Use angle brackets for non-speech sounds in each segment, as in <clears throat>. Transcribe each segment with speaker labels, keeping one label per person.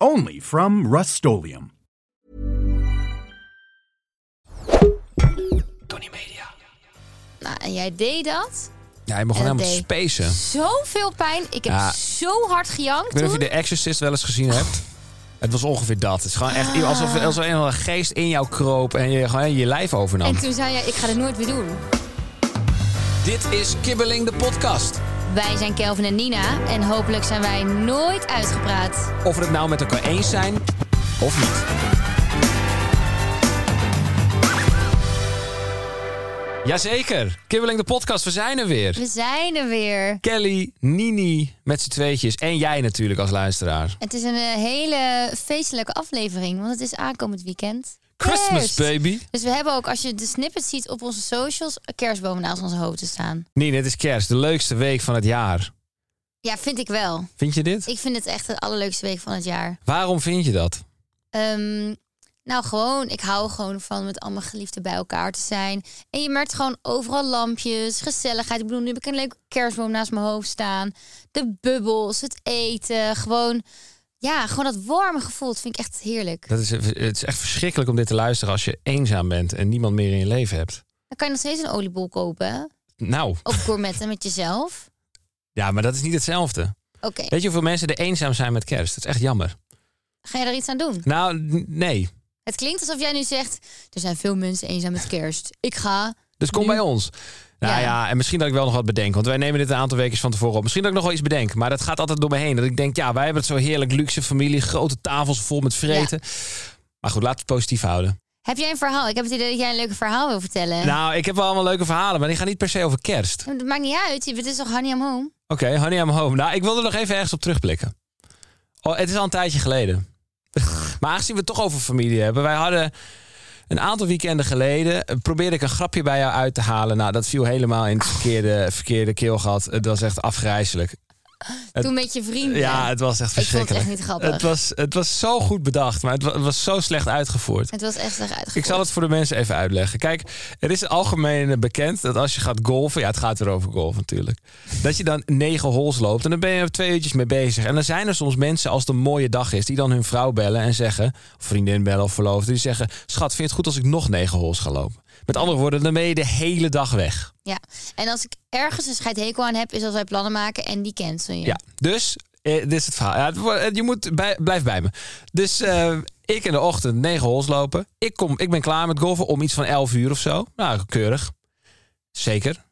Speaker 1: Only from Rust
Speaker 2: Tony Media.
Speaker 3: Nou, en jij deed dat.
Speaker 2: Ja,
Speaker 3: En
Speaker 2: je begon
Speaker 3: dat
Speaker 2: helemaal te
Speaker 3: deed
Speaker 2: spacen.
Speaker 3: Zoveel pijn. Ik heb
Speaker 2: Ja.
Speaker 3: zo hard gejankt
Speaker 2: Ik weet niet of
Speaker 3: toen.
Speaker 2: je de Exorcist wel eens gezien
Speaker 3: Ah.
Speaker 2: hebt. Het was ongeveer dat. Het is gewoon echt alsof, alsof er een geest in jou kroop en je gewoon je lijf overnam.
Speaker 3: En toen zei jij, ik ga dit nooit weer doen.
Speaker 2: Dit is Kibbeling de podcast.
Speaker 3: Wij zijn Kelvin en Nina. En hopelijk zijn wij nooit uitgepraat.
Speaker 2: Of we het nou met elkaar eens zijn of niet. Jazeker, Kibbeling de podcast, we zijn er weer.
Speaker 3: We zijn er weer.
Speaker 2: Kelly, Nini met z'n tweetjes en jij natuurlijk als luisteraar.
Speaker 3: Het is een eh, hele feestelijke aflevering. Want het is aankomend weekend.
Speaker 2: Christmas
Speaker 3: Kerst.
Speaker 2: baby.
Speaker 3: Dus we hebben ook, als je de snippets ziet op onze socials... kerstbomen naast onze hoofden staan.
Speaker 2: Nini, het is kerst, de leukste week van het jaar.
Speaker 3: Ja, vind ik wel.
Speaker 2: Vind je dit?
Speaker 3: Ik vind het echt de allerleukste week van het jaar.
Speaker 2: Waarom vind je dat?
Speaker 3: Ehm, nou, gewoon, ik hou gewoon van met allemaal geliefden bij elkaar te zijn. En je merkt gewoon overal lampjes, gezelligheid. Ik bedoel, nu heb ik een leuke kerstboom naast mijn hoofd staan. De bubbels, het eten, gewoon... Ja, gewoon dat warme gevoel, dat vind ik echt heerlijk.
Speaker 2: Dat is, het is echt verschrikkelijk om dit te luisteren als je eenzaam bent en niemand meer in je leven hebt.
Speaker 3: Dan kan je nog steeds een oliebol kopen. hè?
Speaker 2: Nou,
Speaker 3: Of gourmetten met jezelf.
Speaker 2: ja, maar dat is niet hetzelfde.
Speaker 3: Oké,
Speaker 2: Weet je hoeveel mensen er eenzaam zijn met kerst? Dat is echt jammer.
Speaker 3: ga je er iets aan doen?
Speaker 2: Nou, n- nee.
Speaker 3: Het klinkt alsof jij nu zegt... er zijn veel mensen eenzaam met kerst. Ik ga...
Speaker 2: Dus kom
Speaker 3: Nu?
Speaker 2: bij ons. Nou ja.
Speaker 3: Ja.
Speaker 2: en misschien dat ik wel nog wat bedenk. Want wij nemen dit een aantal weken van tevoren op. Misschien dat ik nog wel iets bedenk. Maar dat gaat altijd door me heen. Dat ik denk, ja, wij hebben het zo heerlijk luxe familie. Grote tafels vol met vreten. Maar goed, laten we het positief houden.
Speaker 3: Heb jij een verhaal? Ik heb het idee dat jij een leuke verhaal wil vertellen.
Speaker 2: Nou, ik heb wel allemaal leuke verhalen. Maar die gaan niet per se over kerst.
Speaker 3: Het maakt niet uit. Het is toch Honey I'm Home?
Speaker 2: Oké, honey, I'm home. Nou, ik wilde nog even ergens op terugblikken. Oh, het is al een tijdje geleden. <laughs> maar aangezien we het toch over familie hebben. Wij hadden een aantal weekenden geleden... eh, probeerde ik een grapje bij jou uit te halen. Nou, dat viel helemaal in het verkeerde, verkeerde keelgat. Het was echt afgrijzelijk. Het-
Speaker 3: Toen met je vrienden.
Speaker 2: Ja, het was echt
Speaker 3: vond het
Speaker 2: verschrikkelijk.
Speaker 3: echt niet grappig.
Speaker 2: Het was, het was zo goed bedacht, maar het wa- het was zo slecht uitgevoerd.
Speaker 3: Het was echt erg uitgevoerd.
Speaker 2: Ik zal het voor de mensen even uitleggen. Kijk, er is algemeen bekend dat als je gaat golven... Ja, het gaat weer over golf natuurlijk. Dat je dan negen holes loopt en dan ben je er twee uurtjes mee bezig. En dan zijn er soms mensen, als het een mooie dag is... die dan hun vrouw bellen en zeggen... of vriendin bellen of verloofde, die zeggen... schat, vind je het goed als ik nog negen holes ga lopen? Met andere woorden, dan ben je de hele dag weg.
Speaker 3: Ja. En als ik ergens een scheidhekel aan heb, is als wij plannen maken en die cancelen je.
Speaker 2: Ja, dus eh, dit is het verhaal. Ja, het wo- eh, je moet bij, blijf bij me. Dus eh, ik in de ochtend negen holes lopen. Ik, kom, ik ben klaar met golven om iets van 11 uur of zo. Nou, keurig. Zeker.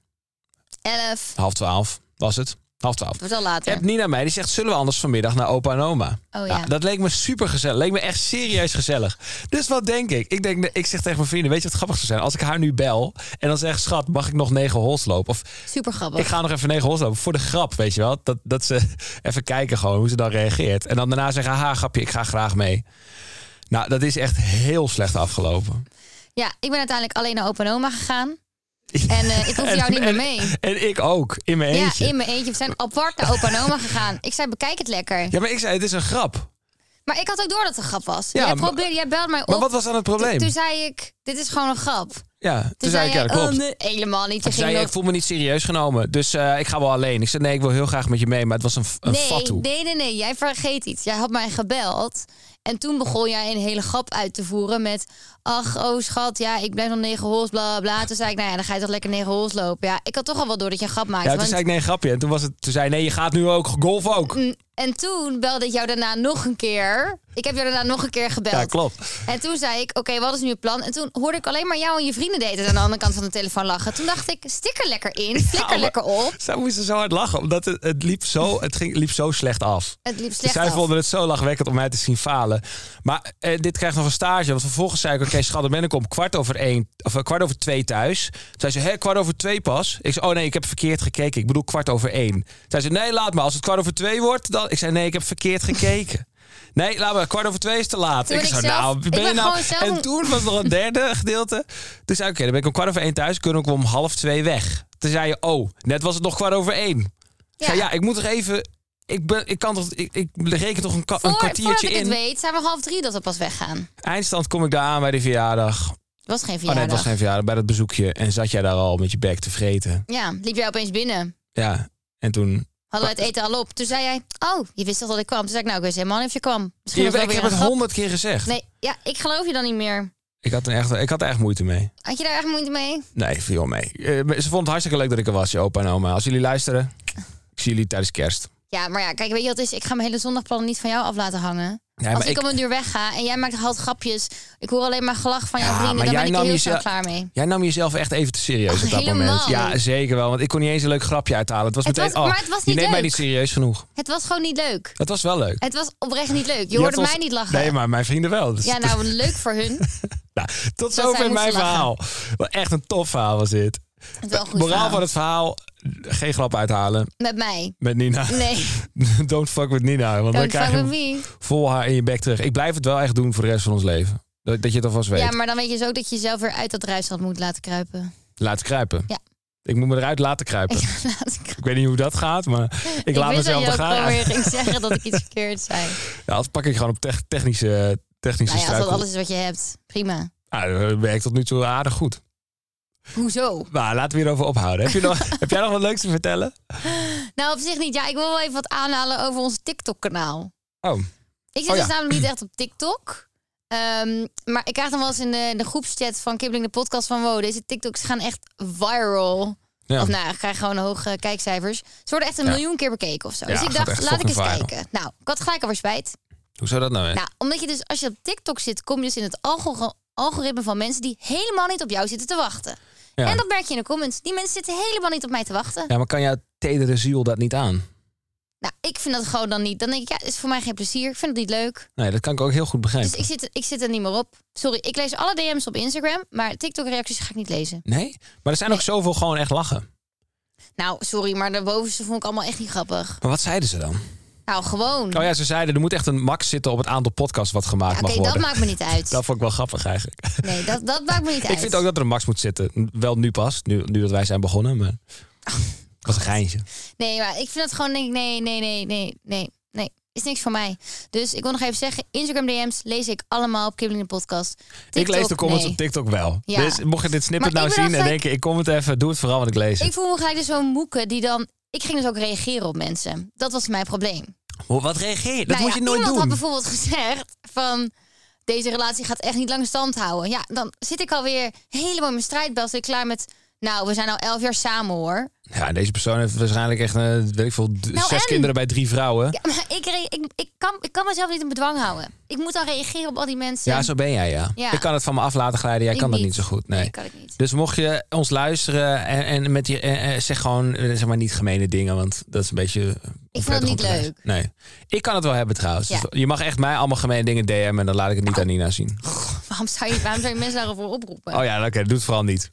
Speaker 3: Elf.
Speaker 2: Half twaalf was het. Half twaalf.
Speaker 3: Het wordt al later.
Speaker 2: App Nina mij, die zegt, zullen we anders vanmiddag naar opa en oma?
Speaker 3: Oh ja.
Speaker 2: dat leek me super gezellig. Leek me echt serieus gezellig. Dus wat denk ik? Ik, denk, ik zeg tegen mijn vrienden, weet je wat grappig zou zijn? Als ik haar nu bel en dan zeg, schat, mag ik nog negen holes lopen? Of
Speaker 3: Super grappig.
Speaker 2: ik ga nog even negen hols lopen. Voor de grap, weet je wel. Dat, dat ze <laughs> even kijken gewoon hoe ze dan reageert. En dan daarna zeggen, ha, grapje, ik ga graag mee. Nou, dat is echt heel slecht afgelopen.
Speaker 3: Ja, ik ben uiteindelijk alleen naar opa en oma gegaan. En eh,
Speaker 2: <laughs>
Speaker 3: ik hoef jou niet meer mee.
Speaker 2: En ik ook, in mijn
Speaker 3: Ja,
Speaker 2: eentje. Ja,
Speaker 3: in mijn eentje. We zijn apart naar opa en oma gegaan. Ik zei, bekijk het lekker.
Speaker 2: maar ik zei, het is een grap.
Speaker 3: Maar ik had ook door dat het een grap was.
Speaker 2: Ja,
Speaker 3: jij,
Speaker 2: maar-
Speaker 3: probeerde, jij belde mij op.
Speaker 2: Maar wat was dan het probleem?
Speaker 3: Toen, toen zei ik, dit is gewoon een grap. Toen,
Speaker 2: ja, toen, zei ik, ja,
Speaker 3: jij,
Speaker 2: dat klopt.
Speaker 3: oh, nee, helemaal niet. Je
Speaker 2: Toen
Speaker 3: ging
Speaker 2: zei je,
Speaker 3: nog-
Speaker 2: ik voel me niet serieus genomen, dus eh, ik ga wel alleen. Ik zei, nee, ik wil heel graag met je mee, maar het was een, f- een
Speaker 3: nee,
Speaker 2: fatu.
Speaker 3: Nee, nee, nee. Jij vergeet iets. Jij had mij gebeld. En toen begon jij een hele grap uit te voeren met... Ach, oh schat, ja, ik blijf nog negen hols, bla, bla, bla. Toen zei ik, nou ja, dan ga je toch lekker negen hols lopen. Ja, ik had toch al wel door dat je een grap maakt.
Speaker 2: ja, toen zei ik, nee, grapje. En toen, was het, toen zei hij, nee, je gaat nu ook golven ook.
Speaker 3: En toen belde ik jou daarna nog een keer. Ik heb jou daarna nog een keer gebeld.
Speaker 2: Ja, klopt.
Speaker 3: En toen zei ik, oké, wat is nu het plan? En toen hoorde ik alleen maar jou en je vrienden deden aan de andere kant van de telefoon lachen. Toen dacht ik, stik er lekker in, flikker
Speaker 2: maar-
Speaker 3: lekker op.
Speaker 2: <laughs> Zij moesten zo hard lachen, omdat het, het liep,
Speaker 3: <laughs>
Speaker 2: zo, het ging, liep zo slecht af. Dus
Speaker 3: Het liep slecht
Speaker 2: Zij
Speaker 3: af.
Speaker 2: vonden het zo lachwekkend om mij te zien falen. Maar eh, dit krijgt nog een stage. Want vervolgens zei ik,
Speaker 3: <laughs>
Speaker 2: oké, schat, dan ben ik om kwart over, één, of, eh, kwart over twee thuis. Toen zei ze, hé, kwart over twee pas? Ik zei, oh nee, ik heb verkeerd gekeken. Ik bedoel
Speaker 3: <laughs>
Speaker 2: kwart over één. Toen zei ze, nee, laat maar. Als het kwart over twee wordt, dan... Ik zei, nee, ik heb verkeerd gekeken. Nee, laat maar. Kwart over twee is te laat.
Speaker 3: Toen ben ik
Speaker 2: zo,
Speaker 3: zelf-
Speaker 2: nou,
Speaker 3: ik
Speaker 2: ben
Speaker 3: ben
Speaker 2: je nou...
Speaker 3: gewoon zelf
Speaker 2: En
Speaker 3: een-
Speaker 2: toen was
Speaker 3: <laughs>
Speaker 2: nog een derde gedeelte. Toen zei ik, oké, dan ben ik om kwart over één thuis. Kunnen we ook om half twee weg? Toen zei je, oh, net was het nog kwart over één. Ik
Speaker 3: Ja.
Speaker 2: zei, ja, ik moet toch even... Ik, ben, ik, kan toch, ik, ik reken toch een, ka-
Speaker 3: Voor,
Speaker 2: een
Speaker 3: voordat
Speaker 2: kwartiertje
Speaker 3: ik het
Speaker 2: in.
Speaker 3: weet, zijn we om half drie dat we pas weggaan. Het
Speaker 2: Eindstand kom ik daar aan bij de verjaardag.
Speaker 3: was geen
Speaker 2: Oh nee, het
Speaker 3: verjaardag.
Speaker 2: was geen verjaardag. Bij dat bezoekje. En zat jij daar al met je bek te vreten.
Speaker 3: Ja, liep jij opeens binnen.
Speaker 2: Ja. En toen...
Speaker 3: Hadden we het eten al op. Toen zei jij, oh, je wist toch dat ik kwam? Toen zei ik, nou, ik wist helemaal niet of je kwam. Misschien
Speaker 2: Ja,
Speaker 3: was
Speaker 2: ik
Speaker 3: wel weer
Speaker 2: heb het
Speaker 3: een grap.
Speaker 2: honderd keer gezegd.
Speaker 3: Nee, ja, ik geloof je dan niet meer.
Speaker 2: Ik, had er echt, ik had er echt moeite mee.
Speaker 3: Had je daar echt moeite mee?
Speaker 2: Nee, viel mee. Eh, ze vonden het hartstikke leuk dat ik er was, je opa en oma. Als jullie luisteren, ik zie jullie tijdens kerst.
Speaker 3: Ja, maar ja, kijk, weet je wat het is? Ik ga mijn hele zondagplannen niet van jou af laten hangen.
Speaker 2: Nee,
Speaker 3: Als
Speaker 2: maar
Speaker 3: ik,
Speaker 2: ik-
Speaker 3: om een duur wegga en jij maakt halt grapjes. Ik hoor alleen maar gelach van jouw
Speaker 2: Ja, maar
Speaker 3: vrienden. Dan
Speaker 2: jij
Speaker 3: ben ik
Speaker 2: nam
Speaker 3: er heel
Speaker 2: jezelf-
Speaker 3: snel klaar mee.
Speaker 2: Jij nam jezelf echt even te serieus
Speaker 3: Ach,
Speaker 2: op dat
Speaker 3: Oh, helemaal
Speaker 2: moment. Ja,
Speaker 3: niet.
Speaker 2: zeker wel. Want ik kon niet eens een leuk grapje uithalen. Het was
Speaker 3: Het
Speaker 2: meteen,
Speaker 3: was-
Speaker 2: oh,
Speaker 3: maar het was
Speaker 2: je
Speaker 3: niet
Speaker 2: neemt mij
Speaker 3: leuk.
Speaker 2: niet serieus genoeg.
Speaker 3: Het was gewoon niet leuk.
Speaker 2: Het was wel leuk.
Speaker 3: Het was oprecht niet leuk. Je,
Speaker 2: Je
Speaker 3: hoorde
Speaker 2: hebt ons-
Speaker 3: mij niet lachen.
Speaker 2: Nee, maar mijn vrienden wel. Dus
Speaker 3: Ja, nou, leuk voor hun.
Speaker 2: <laughs> nou, tot
Speaker 3: zij
Speaker 2: zover mijn
Speaker 3: moesten
Speaker 2: verhaal. Wat Echt een tof verhaal was dit.
Speaker 3: Het
Speaker 2: <laughs>
Speaker 3: wel een goed
Speaker 2: Moraal
Speaker 3: verhaal.
Speaker 2: van het verhaal, geen grap uithalen
Speaker 3: Met mij.
Speaker 2: met Nina.
Speaker 3: Nee,
Speaker 2: <laughs> Don't fuck with Nina, want dan
Speaker 3: don't
Speaker 2: krijg
Speaker 3: fuck
Speaker 2: je
Speaker 3: with
Speaker 2: hem
Speaker 3: me.
Speaker 2: vol haar in je bek terug. Ik blijf het wel echt doen voor de rest van ons leven. Dat, dat je het alvast weet.
Speaker 3: Ja, maar dan weet je dus ook dat je jezelf weer uit dat ruisland moet laten kruipen. <laughs>
Speaker 2: Laat kruipen.
Speaker 3: Ja.
Speaker 2: Ik moet me eruit laten kruipen.
Speaker 3: Ik laat kruipen.
Speaker 2: Ik weet niet hoe dat gaat,
Speaker 3: <laughs>
Speaker 2: maar ik,
Speaker 3: Ik
Speaker 2: laat
Speaker 3: wist dat
Speaker 2: mezelf
Speaker 3: je ook
Speaker 2: er
Speaker 3: gewoon
Speaker 2: gaan.
Speaker 3: weer ging zeggen dat ik iets verkeerd zei.
Speaker 2: Ja, dat pak ik gewoon op tech- technische, technische
Speaker 3: Nou ja, als dat
Speaker 2: struikel.
Speaker 3: alles is wat je hebt, prima.
Speaker 2: Ah, dat werkt tot nu toe aardig goed.
Speaker 3: Hoezo?
Speaker 2: Maar laten we hierover ophouden. Heb, je nog,
Speaker 3: <laughs>
Speaker 2: heb jij nog wat leuks te vertellen?
Speaker 3: Nou, op zich niet. Ja, ik wil wel even wat aanhalen over ons TikTok-kanaal.
Speaker 2: Oh,
Speaker 3: Ik zit
Speaker 2: Oh ja.
Speaker 3: dus namelijk niet echt op TikTok. Ehm, maar ik krijg dan wel eens in de, in de groepschat van Kibbeling de podcast van... wow, deze TikToks gaan echt viral.
Speaker 2: ja.
Speaker 3: Of nou, ik krijg gewoon hoge kijkcijfers. Ze worden echt een
Speaker 2: Ja.
Speaker 3: miljoen keer bekeken of zo.
Speaker 2: Ja,
Speaker 3: dus ik
Speaker 2: gaat
Speaker 3: dacht,
Speaker 2: echt
Speaker 3: laat ik eens
Speaker 2: fucking viral.
Speaker 3: kijken. Nou, ik had gelijk alweer spijt.
Speaker 2: hoe zou dat nou zijn?
Speaker 3: Nou, omdat je dus als je op TikTok zit, kom je dus in het algo- algoritme van mensen die helemaal niet op jou zitten te wachten.
Speaker 2: Ja.
Speaker 3: En dat merk je in de comments. Die mensen zitten helemaal niet op mij te wachten.
Speaker 2: ja, maar kan jouw tedere ziel dat niet aan?
Speaker 3: Nou, ik vind dat gewoon dan niet. Dan denk ik, ja, het is voor mij geen plezier. Ik vind het niet leuk.
Speaker 2: Nee, dat kan ik ook heel goed begrijpen.
Speaker 3: Dus ik zit, ik zit er niet meer op. Sorry, ik lees alle DM's op Instagram, maar TikTok-reacties ga ik niet lezen.
Speaker 2: Nee? Maar er zijn ook zoveel gewoon echt lachen.
Speaker 3: Nou, sorry, maar de bovenste vond ik allemaal echt niet grappig.
Speaker 2: Maar wat zeiden ze dan?
Speaker 3: Nou, gewoon.
Speaker 2: Oh ja, ze zeiden er moet echt een max zitten op het aantal podcasts wat gemaakt
Speaker 3: Ja, Oké,
Speaker 2: mag worden.
Speaker 3: dat maakt me niet uit.
Speaker 2: <laughs> Dat vond ik wel grappig eigenlijk. <laughs>
Speaker 3: Nee, dat, dat maakt me niet uit.
Speaker 2: Ik vind ook dat er een max moet zitten. Wel nu pas, nu, nu dat wij zijn begonnen.
Speaker 3: <laughs>
Speaker 2: Maar... was een geintje.
Speaker 3: Nee, maar ik vind dat gewoon, denk ik, nee, nee, nee, nee, nee, nee. Is niks voor mij. Dus ik wil nog even zeggen, Instagram DM's lees ik allemaal op Kibbeling de podcast.
Speaker 2: ik lees de
Speaker 3: TikTok,
Speaker 2: comments
Speaker 3: nee.
Speaker 2: op TikTok wel.
Speaker 3: Ja.
Speaker 2: Dus mocht je dit snippet
Speaker 3: Maar
Speaker 2: nou
Speaker 3: ik
Speaker 2: zien
Speaker 3: ben
Speaker 2: en
Speaker 3: dan gelijk-
Speaker 2: denken, ik kom het even, doe het vooral, want ik lees
Speaker 3: Ik
Speaker 2: het.
Speaker 3: voel me gelijk dus zo'n moeke die dan... Ik ging dus ook reageren op mensen. Dat was mijn probleem.
Speaker 2: Hoe- Wat reageer je? Dat
Speaker 3: Nou
Speaker 2: moet
Speaker 3: ja,
Speaker 2: je nooit
Speaker 3: iemand
Speaker 2: doen.
Speaker 3: had bijvoorbeeld gezegd van... Deze relatie gaat echt niet lang stand houden. Ja, dan zit ik alweer helemaal in mijn strijdbel. Zit ik klaar met... Nou, we zijn al elf jaar samen hoor.
Speaker 2: Ja, deze persoon heeft waarschijnlijk echt, eh, weet ik veel, d-
Speaker 3: Nou,
Speaker 2: zes
Speaker 3: en?
Speaker 2: kinderen bij drie vrouwen. Ja,
Speaker 3: Ja, maar ik, re- ik, ik, kan, ik kan mezelf niet in bedwang houden. Ik moet dan reageren op al die mensen.
Speaker 2: zo ben jij, ja.
Speaker 3: Ja.
Speaker 2: Ik kan het van me af laten glijden, jij
Speaker 3: Ik
Speaker 2: kan dat niet zo goed. Nee.
Speaker 3: kan ik niet.
Speaker 2: Dus mocht je ons luisteren en, en met die, eh, eh, zeg gewoon eh, zeg maar niet gemene dingen, want dat is een beetje. eh, onprettig
Speaker 3: het
Speaker 2: om
Speaker 3: niet
Speaker 2: te lezen.
Speaker 3: leuk.
Speaker 2: Nee, ik kan het wel hebben trouwens.
Speaker 3: Ja.
Speaker 2: Dus je mag echt mij allemaal gemene dingen DM en dan laat ik het niet aan Nina zien.
Speaker 3: Waarom zou je, waarom zou je mensen daarover oproepen?
Speaker 2: Oh ja, oké, doe het vooral niet.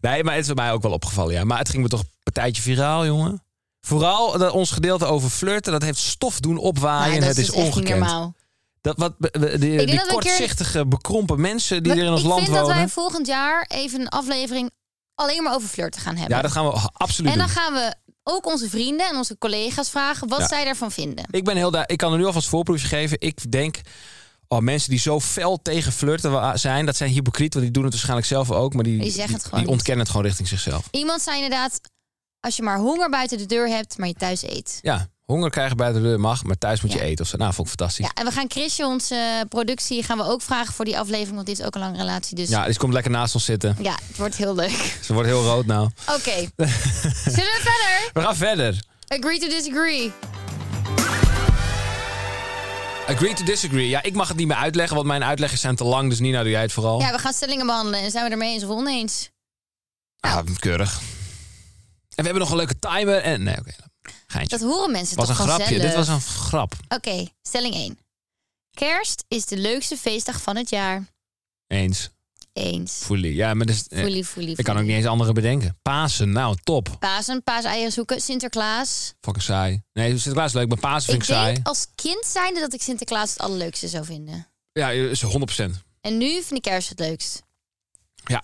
Speaker 2: Nee, maar het is bij mij ook wel opgevallen, ja. Maar het ging me toch een partijtje viraal, jongen. Vooral dat ons gedeelte over flirten, dat heeft stof doen opwaaien.
Speaker 3: Maar dat
Speaker 2: het is,
Speaker 3: dus echt niet
Speaker 2: ongekend.
Speaker 3: normaal.
Speaker 2: Dat, wat, be- be- die
Speaker 3: denk dat
Speaker 2: die
Speaker 3: we een keer-
Speaker 2: kortzichtige, bekrompen mensen die
Speaker 3: Maar
Speaker 2: er in ons
Speaker 3: ik
Speaker 2: land
Speaker 3: vind dat
Speaker 2: wonen.
Speaker 3: wij volgend jaar even een aflevering alleen maar over flirten gaan hebben.
Speaker 2: Ja, dat gaan we absoluut
Speaker 3: en dan
Speaker 2: doen.
Speaker 3: gaan we ook onze vrienden en onze collega's vragen wat
Speaker 2: Ja.
Speaker 3: zij daarvan vinden.
Speaker 2: Ik ben heel daar. Ik kan er nu alvast voorproefje geven. Ik denk. Oh, mensen die zo fel tegen flirten wa- zijn, dat zijn hypocriet. Want die doen het waarschijnlijk zelf ook. Maar die,
Speaker 3: Die zeggen het gewoon
Speaker 2: die
Speaker 3: niet.
Speaker 2: ontkennen het gewoon richting zichzelf.
Speaker 3: Iemand zei inderdaad, als je maar honger buiten de deur hebt, maar je thuis eet.
Speaker 2: Ja, honger krijgen buiten de deur mag, maar thuis moet je
Speaker 3: Ja.
Speaker 2: eten. Of zo. Nou, vond ik fantastisch.
Speaker 3: Ja, en we gaan Chrisje, onze eh, productie, gaan we ook vragen voor die aflevering, want die heeft ook een lange relatie. Dus ja,
Speaker 2: Ja, dus komt lekker naast ons zitten.
Speaker 3: het wordt heel leuk. <laughs>
Speaker 2: Ze wordt heel rood nou.
Speaker 3: Oké,
Speaker 2: <laughs>
Speaker 3: zullen we verder?
Speaker 2: We gaan verder.
Speaker 3: Agree to disagree.
Speaker 2: Agree to disagree. Ja, ik mag het niet meer uitleggen, want mijn uitleggen zijn te lang. Dus Nina, doe jij het vooral.
Speaker 3: Ja, we gaan stellingen behandelen en zijn we ermee eens of oneens?
Speaker 2: Ah, keurig. En we hebben nog een leuke timer. En, nee, oké. Geintje.
Speaker 3: Dat horen mensen
Speaker 2: was een
Speaker 3: toch
Speaker 2: grapje.
Speaker 3: vanzelf?
Speaker 2: Dit was een grap.
Speaker 3: Oké, stelling 1. Kerst is de leukste feestdag van het jaar.
Speaker 2: Eens.
Speaker 3: Eens.
Speaker 2: Foelie. Ja, maar dat is, eh,
Speaker 3: Fully, fully,
Speaker 2: ik kan ook niet eens andere bedenken. Pasen, nou, top.
Speaker 3: Pasen, paaseieren zoeken, Sinterklaas.
Speaker 2: Fucking saai. Nee, Sinterklaas is leuk, maar Pasen vind ik,
Speaker 3: ik
Speaker 2: saai.
Speaker 3: denk als kind zijnde dat ik Sinterklaas het allerleukste zou vinden.
Speaker 2: Ja, is 100%.
Speaker 3: En nu vind ik kerst het leukst.
Speaker 2: Ja.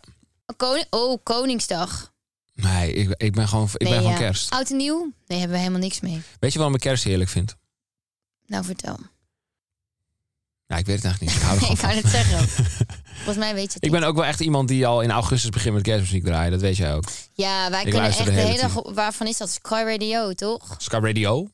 Speaker 3: Koning, oh, Koningsdag.
Speaker 2: Nee, ik, ik ben gewoon, ik ben
Speaker 3: Nee,
Speaker 2: gewoon
Speaker 3: ja.
Speaker 2: kerst.
Speaker 3: Oud en nieuw? Nee, hebben we helemaal niks mee.
Speaker 2: Weet je waarom ik kerst heerlijk vind?
Speaker 3: Nou,
Speaker 2: <laughs>
Speaker 3: vertel.
Speaker 2: Ja, ik weet het eigenlijk niet. Ik hou er
Speaker 3: <laughs>
Speaker 2: gewoon
Speaker 3: ik
Speaker 2: van.
Speaker 3: kan het zeggen.
Speaker 2: <laughs>
Speaker 3: Volgens mij weet je het
Speaker 2: Ik
Speaker 3: niet.
Speaker 2: ben ook wel echt iemand die al in augustus begint met kerstmuziek draaien. Dat weet jij ook.
Speaker 3: Ja, wij
Speaker 2: ik
Speaker 3: kunnen echt
Speaker 2: luister
Speaker 3: de
Speaker 2: de
Speaker 3: hele,
Speaker 2: hele
Speaker 3: dag... op- Waarvan is dat? Sky Radio, toch?
Speaker 2: Sky
Speaker 3: <laughs>
Speaker 2: Radio?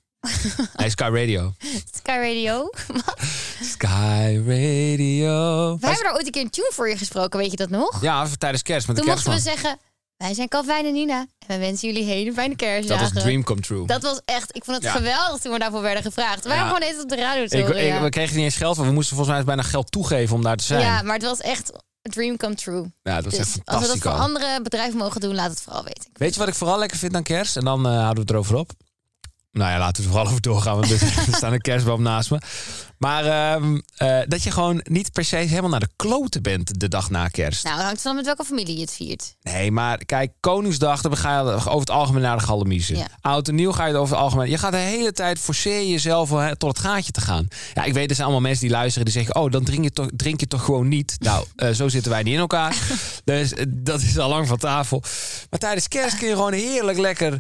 Speaker 2: nee, Sky Radio.
Speaker 3: Sky
Speaker 2: <laughs>
Speaker 3: Radio? Wat?
Speaker 2: Sky Radio.
Speaker 3: Wij hebben daar ooit een keer een tune voor je gesproken, weet je dat nog?
Speaker 2: Ja, tijdens kerst met de
Speaker 3: Toen mochten
Speaker 2: kerstman.
Speaker 3: we zeggen... Wij zijn Calvin en Nina. En wij wensen jullie hele fijne
Speaker 2: dat
Speaker 3: kerstdagen.
Speaker 2: was dream come true.
Speaker 3: Dat was echt... Ik vond het
Speaker 2: Ja.
Speaker 3: geweldig toen we daarvoor werden gevraagd. Wij
Speaker 2: Ja.
Speaker 3: waren gewoon eens op de radio te
Speaker 2: ik,
Speaker 3: horen,
Speaker 2: ik,
Speaker 3: ja.
Speaker 2: we kregen niet eens geld, want we moesten volgens mij bijna geld toegeven om daar te zijn.
Speaker 3: ja,
Speaker 2: Ja,
Speaker 3: maar het was echt... a Dream come true.
Speaker 2: dat is
Speaker 3: Dus
Speaker 2: echt
Speaker 3: als we dat
Speaker 2: fantastisch.
Speaker 3: voor andere bedrijven mogen doen, laat het vooral weten.
Speaker 2: Weet je wat ik vooral lekker vind aan kerst? En dan eh, houden we het erover op. Nou ja, laten we er vooral over doorgaan, want er <laughs> er staat een kerstboom naast me. Maar ehm, eh, dat je gewoon niet per se helemaal naar de kloten bent de dag na kerst.
Speaker 3: Nou, het hangt van met welke familie je het viert.
Speaker 2: Nee, maar kijk, Koningsdag, dan ga je over het algemeen naar de galamiezen.
Speaker 3: Ja.
Speaker 2: Oud en nieuw ga je het over het algemeen. Je gaat de hele tijd forceer jezelf om, hè, tot het gaatje te gaan. Ja, ik weet, er zijn allemaal mensen die luisteren die zeggen... oh, dan drink je toch, drink je toch gewoon niet.
Speaker 3: <laughs>
Speaker 2: Nou, eh, zo zitten wij niet in elkaar. dus eh, dat is al lang van tafel. Maar tijdens kerst kun je gewoon heerlijk lekker...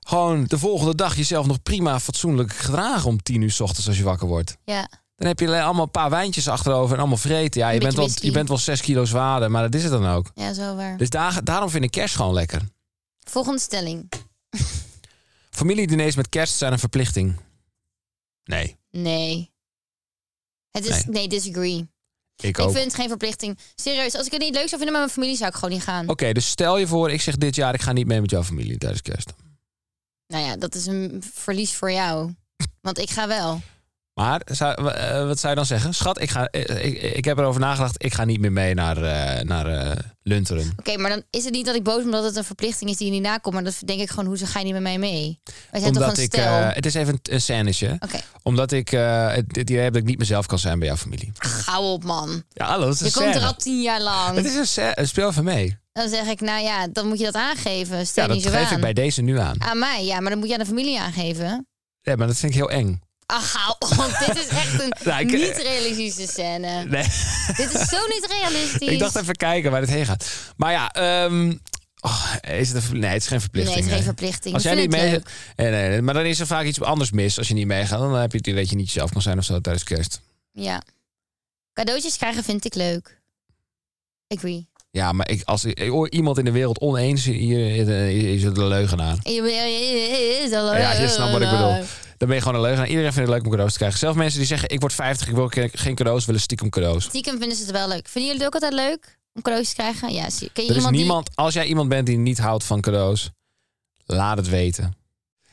Speaker 2: gewoon de volgende dag jezelf nog prima fatsoenlijk gedragen... om tien uur 's ochtends als je wakker wordt.
Speaker 3: Ja.
Speaker 2: Dan heb je allemaal een paar wijntjes achterover en allemaal vreten. Ja, je
Speaker 3: beetje
Speaker 2: bent, wel,
Speaker 3: whisky.
Speaker 2: je bent wel zes kilo zwaarder, maar dat is het dan ook.
Speaker 3: ja, zo waar.
Speaker 2: Dus daar, daarom vind ik kerst gewoon lekker.
Speaker 3: Volgende stelling.
Speaker 2: Familiediners met kerst zijn een verplichting. Nee,
Speaker 3: Nee. Het is,
Speaker 2: Nee.
Speaker 3: nee. disagree.
Speaker 2: ik
Speaker 3: Ik
Speaker 2: ook.
Speaker 3: vind het geen verplichting. Serieus, als ik het niet leuk zou vinden met mijn familie, zou ik gewoon niet gaan.
Speaker 2: Oké, dus stel je voor, ik zeg dit jaar, ik ga niet mee met jouw familie tijdens kerst.
Speaker 3: Nou ja, dat is een verlies voor jou. Want ik ga wel.
Speaker 2: Maar zou- eh, wat zou je dan zeggen? Schat, ik, ga, eh, ik, ik heb erover nagedacht, ik ga niet meer mee naar, eh, naar eh, Lunteren.
Speaker 3: Oké, maar dan is het niet dat ik boos ben omdat het een verplichting is die je niet nakomt. Maar dat denk ik gewoon, hoezo ga je niet met mij mee? Wij zijn toch
Speaker 2: Omdat
Speaker 3: een
Speaker 2: ik,
Speaker 3: stel.
Speaker 2: eh, het is even een, een scènetje. hè.
Speaker 3: Oké,
Speaker 2: Omdat ik eh, het het idee heb dat ik niet mezelf kan zijn bij jouw familie.
Speaker 3: gauw op man.
Speaker 2: Ja, hallo, het is een
Speaker 3: Je komt er
Speaker 2: scène.
Speaker 3: al tien jaar
Speaker 2: Het
Speaker 3: lang.
Speaker 2: is een, scè- een speel van mee.
Speaker 3: Dan zeg ik, nou ja, dan moet je dat aangeven. Stel
Speaker 2: Ja, dat
Speaker 3: niet zo
Speaker 2: geef
Speaker 3: aan.
Speaker 2: ik bij deze nu aan.
Speaker 3: Aan mij, ja, maar dan moet je aan de familie aangeven.
Speaker 2: Ja, maar dat vind ik heel eng.
Speaker 3: Ah, gauw <laughs> op. Dit is echt een
Speaker 2: <laughs> Nou, ik-
Speaker 3: niet realistische scène.
Speaker 2: Nee.
Speaker 3: Dit is zo niet realistisch.
Speaker 2: <laughs> Ik dacht even kijken waar het heen gaat. Maar ja, ehm, oh, is het een, ver- nee, het is geen verplichting.
Speaker 3: Nee, het is geen
Speaker 2: nee.
Speaker 3: verplichting.
Speaker 2: Als
Speaker 3: We
Speaker 2: jij niet
Speaker 3: vinden
Speaker 2: mee,
Speaker 3: het
Speaker 2: nee, nee, nee, maar dan is er vaak iets anders mis als je niet meegaat. Dan heb je het idee dat je niet jezelf kan zijn of zo tijdens kerst.
Speaker 3: leuk. Ja. Cadeautjes krijgen vind ik leuk. Agree.
Speaker 2: Ja, maar ik, als ik, ik hoor iemand in de wereld oneens, hier eh, is het een leugenaar. Ja,
Speaker 3: Oh.
Speaker 2: je snapt wat ik bedoel. Dan ben je gewoon een leugenaar. Iedereen vindt het leuk om cadeaus te krijgen. Zelfs mensen die zeggen, ik word 50, ik wil ke- geen cadeaus, willen stiekem cadeaus.
Speaker 3: Stiekem vinden ze het wel leuk. Vinden jullie het ook altijd leuk om cadeautjes te krijgen? Ja, zie- ken je
Speaker 2: Er is
Speaker 3: iemand die-
Speaker 2: niemand, als jij iemand bent die niet houdt van cadeaus, laat het weten.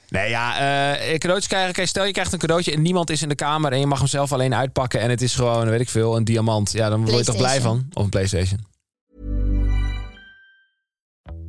Speaker 2: Nee, ja, eh, cadeautjes krijgen. Kijk, stel je krijgt een cadeautje en niemand is in de kamer en je mag hem zelf alleen uitpakken en het is gewoon, weet ik veel, een diamant. Ja, dan word je toch blij van? Of een PlayStation.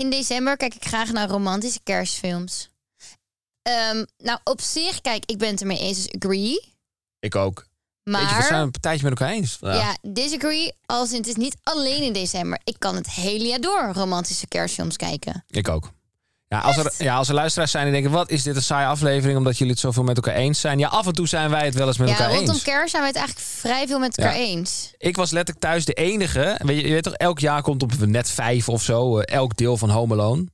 Speaker 3: In december kijk ik graag naar romantische kerstfilms. Ehm, nou, op zich, kijk, ik ben het ermee eens, dus agree.
Speaker 2: Ik ook. Weet je, we
Speaker 3: Maar...
Speaker 2: zijn een partijtje met elkaar eens. Ja.
Speaker 3: Ja, disagree. Als in, het is niet alleen in december. Ik kan het hele jaar door romantische kerstfilms kijken.
Speaker 2: Ik ook. Ja als, er, ja, als er luisteraars zijn die denken, wat is dit een saaie aflevering omdat jullie het zoveel met elkaar eens zijn. Ja, af en toe zijn wij het wel eens met
Speaker 3: ja,
Speaker 2: elkaar
Speaker 3: rondom
Speaker 2: eens.
Speaker 3: kerst zijn we het eigenlijk vrij veel met elkaar
Speaker 2: Ja.
Speaker 3: eens.
Speaker 2: Ik was letterlijk thuis de enige. Weet je, je weet toch, elk jaar komt op net vijf of zo eh, elk deel van Home Alone.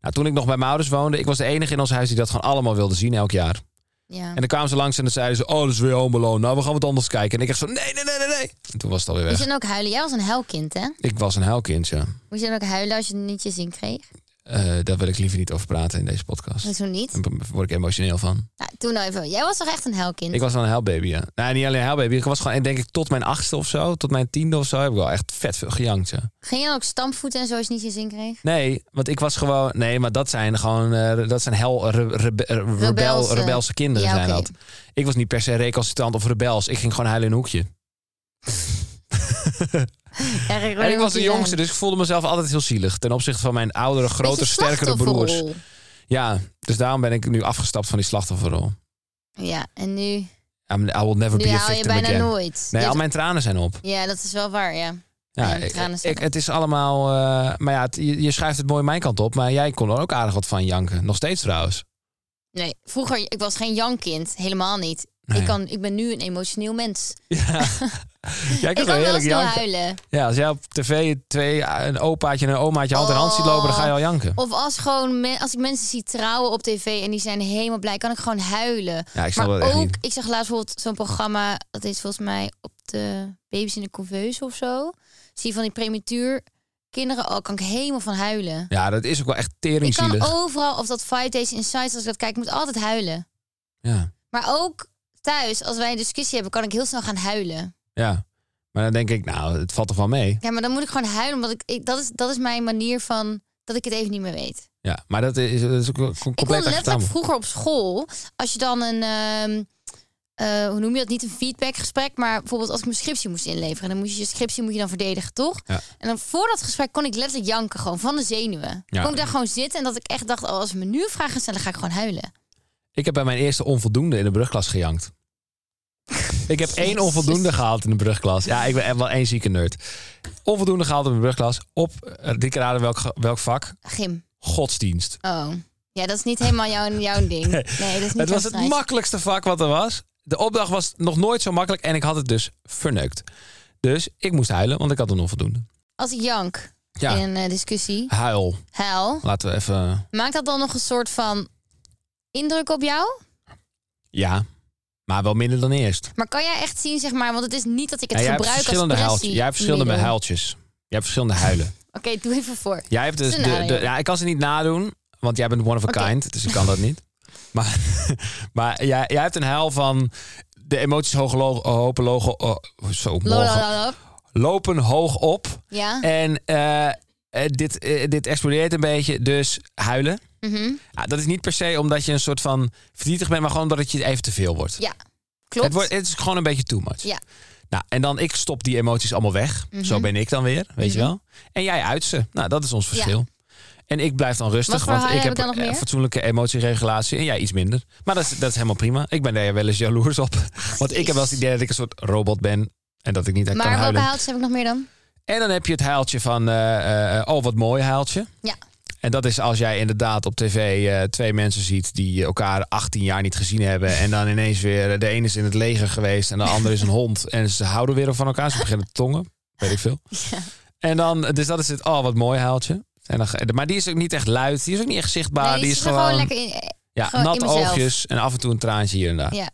Speaker 2: Nou, toen ik nog bij mijn ouders woonde, ik was de enige in ons huis die dat gewoon allemaal wilde zien elk jaar.
Speaker 3: Ja.
Speaker 2: En dan kwamen ze langs en dan zeiden ze, oh, dat is weer Home Alone. Nou, we gaan wat anders kijken. En ik echt zo, nee, nee, nee, nee, nee. En toen was het alweer
Speaker 3: Moest
Speaker 2: weg.
Speaker 3: je dan ook huilen? Jij was een huilkind, hè?
Speaker 2: Ik was een huilkind, ja.
Speaker 3: Moest je dan ook huilen als je het niet je zin kreeg?
Speaker 2: Eh, daar wil ik liever niet over praten in deze podcast.
Speaker 3: Hoezo niet?
Speaker 2: Daar word ik emotioneel van.
Speaker 3: Nou, doe nou even. Jij was toch echt een helkind?
Speaker 2: Ik was wel een huilbaby, ja. Nou, niet alleen een huilbaby. Ik was gewoon, denk ik, tot mijn achtste of zo, tot mijn tiende of zo, heb ik wel echt vet veel gejankt, ja.
Speaker 3: Ging je dan ook stampvoeten en zo als je niet je zin kreeg?
Speaker 2: Nee, want ik was gewoon. Nee, maar dat zijn gewoon. eh, dat zijn hel. Re, rebe- eh, rebel,
Speaker 3: Rebelse.
Speaker 2: rebelse. kinderen
Speaker 3: Ja,
Speaker 2: zijn
Speaker 3: oké.
Speaker 2: dat. Ik was niet per se recalcitrant of rebels. Ik ging gewoon huilen in een hoekje.
Speaker 3: Ja, ik,
Speaker 2: en ik was de
Speaker 3: eh,
Speaker 2: jongste, dus ik voelde mezelf altijd heel zielig. Ten opzichte van mijn oudere, grotere, sterkere broers. Ja, dus daarom ben ik nu afgestapt van die slachtofferrol.
Speaker 3: Ja, en nu,
Speaker 2: I'm- I will never
Speaker 3: nu
Speaker 2: be a
Speaker 3: haal je
Speaker 2: victim
Speaker 3: bijna
Speaker 2: again.
Speaker 3: nooit.
Speaker 2: Nee,
Speaker 3: Je
Speaker 2: al
Speaker 3: hebt-
Speaker 2: mijn tranen zijn op.
Speaker 3: Ja, dat is wel waar, ja.
Speaker 2: Ja,
Speaker 3: Ja, de
Speaker 2: ik-
Speaker 3: tranen zijn
Speaker 2: ik, het is allemaal. eh, maar ja, het- je, je schuift het mooi mijn kant op. Maar jij kon er ook aardig wat van janken. Nog steeds trouwens. <laughs>
Speaker 3: Nee, vroeger, ik was geen jankkind. Helemaal niet.
Speaker 2: Nee.
Speaker 3: Ik, kan, ik ben nu een emotioneel mens.
Speaker 2: Ja. Jij
Speaker 3: Ik
Speaker 2: kan
Speaker 3: kan
Speaker 2: wel
Speaker 3: wel
Speaker 2: heerlijk
Speaker 3: snel
Speaker 2: janken.
Speaker 3: huilen.
Speaker 2: Ja, als jij op tv twee, een opaatje en een omaatje hand in hand ziet lopen, dan ga je al janken.
Speaker 3: Oh. Of als, gewoon me- als ik mensen zie trouwen op tv en die zijn helemaal blij, kan ik gewoon huilen.
Speaker 2: Ja, ik snap
Speaker 3: maar
Speaker 2: dat echt
Speaker 3: ook,
Speaker 2: niet.
Speaker 3: ik zag laatst bijvoorbeeld zo'n programma, dat is volgens mij op de Baby's in de Couveuse of zo. Zie je van die prematuur kinderen, al kan ik helemaal van huilen.
Speaker 2: Ja, dat is ook wel echt
Speaker 3: Ik kan
Speaker 2: teringzielig.
Speaker 3: overal, of dat Fight Days Insights, als ik dat kijk, ik moet altijd huilen.
Speaker 2: Ja,
Speaker 3: Maar ook thuis, als wij een discussie hebben, kan ik heel snel gaan huilen.
Speaker 2: ja. Maar dan denk ik, nou, het valt er wel mee.
Speaker 3: Ja, maar dan moet ik gewoon huilen, omdat ik, ik- dat, is, dat is mijn manier van dat ik het even niet meer weet.
Speaker 2: Ja, maar dat is, dat is ook wel com-
Speaker 3: Ik kon
Speaker 2: compleet
Speaker 3: letterlijk
Speaker 2: acceptabel.
Speaker 3: vroeger op school, als je dan een, ehm, eh, hoe noem je dat, niet een feedbackgesprek, maar bijvoorbeeld als ik mijn scriptie moest inleveren, dan moest je je scriptie moet je dan verdedigen, toch?
Speaker 2: Ja.
Speaker 3: En dan voor dat gesprek kon ik letterlijk janken gewoon van de zenuwen.
Speaker 2: Ja.
Speaker 3: Kon ik daar gewoon zitten en dat ik echt dacht, oh, als ze me nu vragen stellen, ga ik gewoon huilen.
Speaker 2: Ik heb bij mijn eerste onvoldoende in de brugklas gejankt. ik heb
Speaker 3: <laughs>
Speaker 2: één onvoldoende gehaald in de brugklas. Ja, ik ben echt wel één zieke nerd. Onvoldoende gehaald in de brugklas. Op, eh, drie keer raden welk, ge- welk vak?
Speaker 3: Gym.
Speaker 2: Godsdienst.
Speaker 3: Oh. Ja, dat is niet helemaal
Speaker 2: <laughs>
Speaker 3: jouw, jouw ding. Nee, dat is niet
Speaker 2: Het was
Speaker 3: jouw
Speaker 2: het
Speaker 3: strijd.
Speaker 2: makkelijkste vak wat er was. De opdracht was nog nooit zo makkelijk en ik had het dus verneukt. Dus ik moest huilen, want ik had een onvoldoende.
Speaker 3: Als ik jank
Speaker 2: Ja,
Speaker 3: in een eh, discussie,
Speaker 2: huil.
Speaker 3: huil,
Speaker 2: Laten we even...
Speaker 3: maakt dat dan nog een soort van indruk op jou?
Speaker 2: Ja, maar wel minder dan eerst.
Speaker 3: Maar kan jij echt zien, zeg maar, want het is niet dat ik het
Speaker 2: Ja, jij, hebt
Speaker 3: gebruik als
Speaker 2: verschillende huiltjes.
Speaker 3: pressie.
Speaker 2: jij hebt verschillende huiltjes. Jij hebt verschillende huilen.
Speaker 3: Oké, doe even voor.
Speaker 2: Jij hebt dus de,
Speaker 3: Scenario.
Speaker 2: de- ja, ik kan ze niet nadoen, want jij bent one of a
Speaker 3: Oké.
Speaker 2: kind. Dus ik kan dat
Speaker 3: <laughs>
Speaker 2: niet. Maar, <laughs> maar jij, jij hebt een huil van... De emoties hoog, lo- hopen logo, oh, zo, morgen.
Speaker 3: Lolololop.
Speaker 2: lopen hoog op.
Speaker 3: Ja.
Speaker 2: En eh, eh, dit, eh, dit explodeert een beetje, dus huilen.
Speaker 3: Mhm.
Speaker 2: Ah, dat is niet per se omdat je een soort van verdrietig bent, maar gewoon omdat het je even te veel wordt.
Speaker 3: Ja.
Speaker 2: Het,
Speaker 3: Klopt.
Speaker 2: wordt het is gewoon een beetje too much.
Speaker 3: Ja. Mhm.
Speaker 2: Nou, en dan ik stop die emoties allemaal weg. Zo ben ik dan weer, weet je wel. En jij uit ze. Nou, dat is ons verschil. En ik blijf dan
Speaker 3: Wat
Speaker 2: rustig,
Speaker 3: voor
Speaker 2: want
Speaker 3: haai
Speaker 2: ik
Speaker 3: heb ik
Speaker 2: heb
Speaker 3: dan nog
Speaker 2: eh,
Speaker 3: meer?
Speaker 2: fatsoenlijke emotieregulatie. En jij iets minder. Maar dat is, dat is helemaal prima. Ik ben daar wel eens jaloers op. want ik heb wel eens het idee dat ik een soort robot ben. En dat ik niet echt kan
Speaker 3: maar welke
Speaker 2: huilen.
Speaker 3: haaltjes heb ik nog meer dan?
Speaker 2: En dan heb je het haaltje van, eh, eh, oh wat mooi haaltje.
Speaker 3: Ja.
Speaker 2: En dat is als jij inderdaad op tv eh, twee mensen ziet die elkaar 18 jaar niet gezien hebben. En dan ineens weer, eh, de ene is in het leger geweest en de andere is een hond. En ze houden weer van elkaar, ze beginnen te tongen. Weet ik veel. En dan, dus dat is het, oh wat mooi haaltje. En dan, ge- maar die is ook niet echt luid, die is ook niet echt zichtbaar.
Speaker 3: Nee,
Speaker 2: Ah, die, is
Speaker 3: zitten
Speaker 2: gewoon,
Speaker 3: lekker in.
Speaker 2: ja,
Speaker 3: gewoon
Speaker 2: nat
Speaker 3: in mezelf.
Speaker 2: oogjes en af en toe een traantje hier en daar.
Speaker 3: Ja.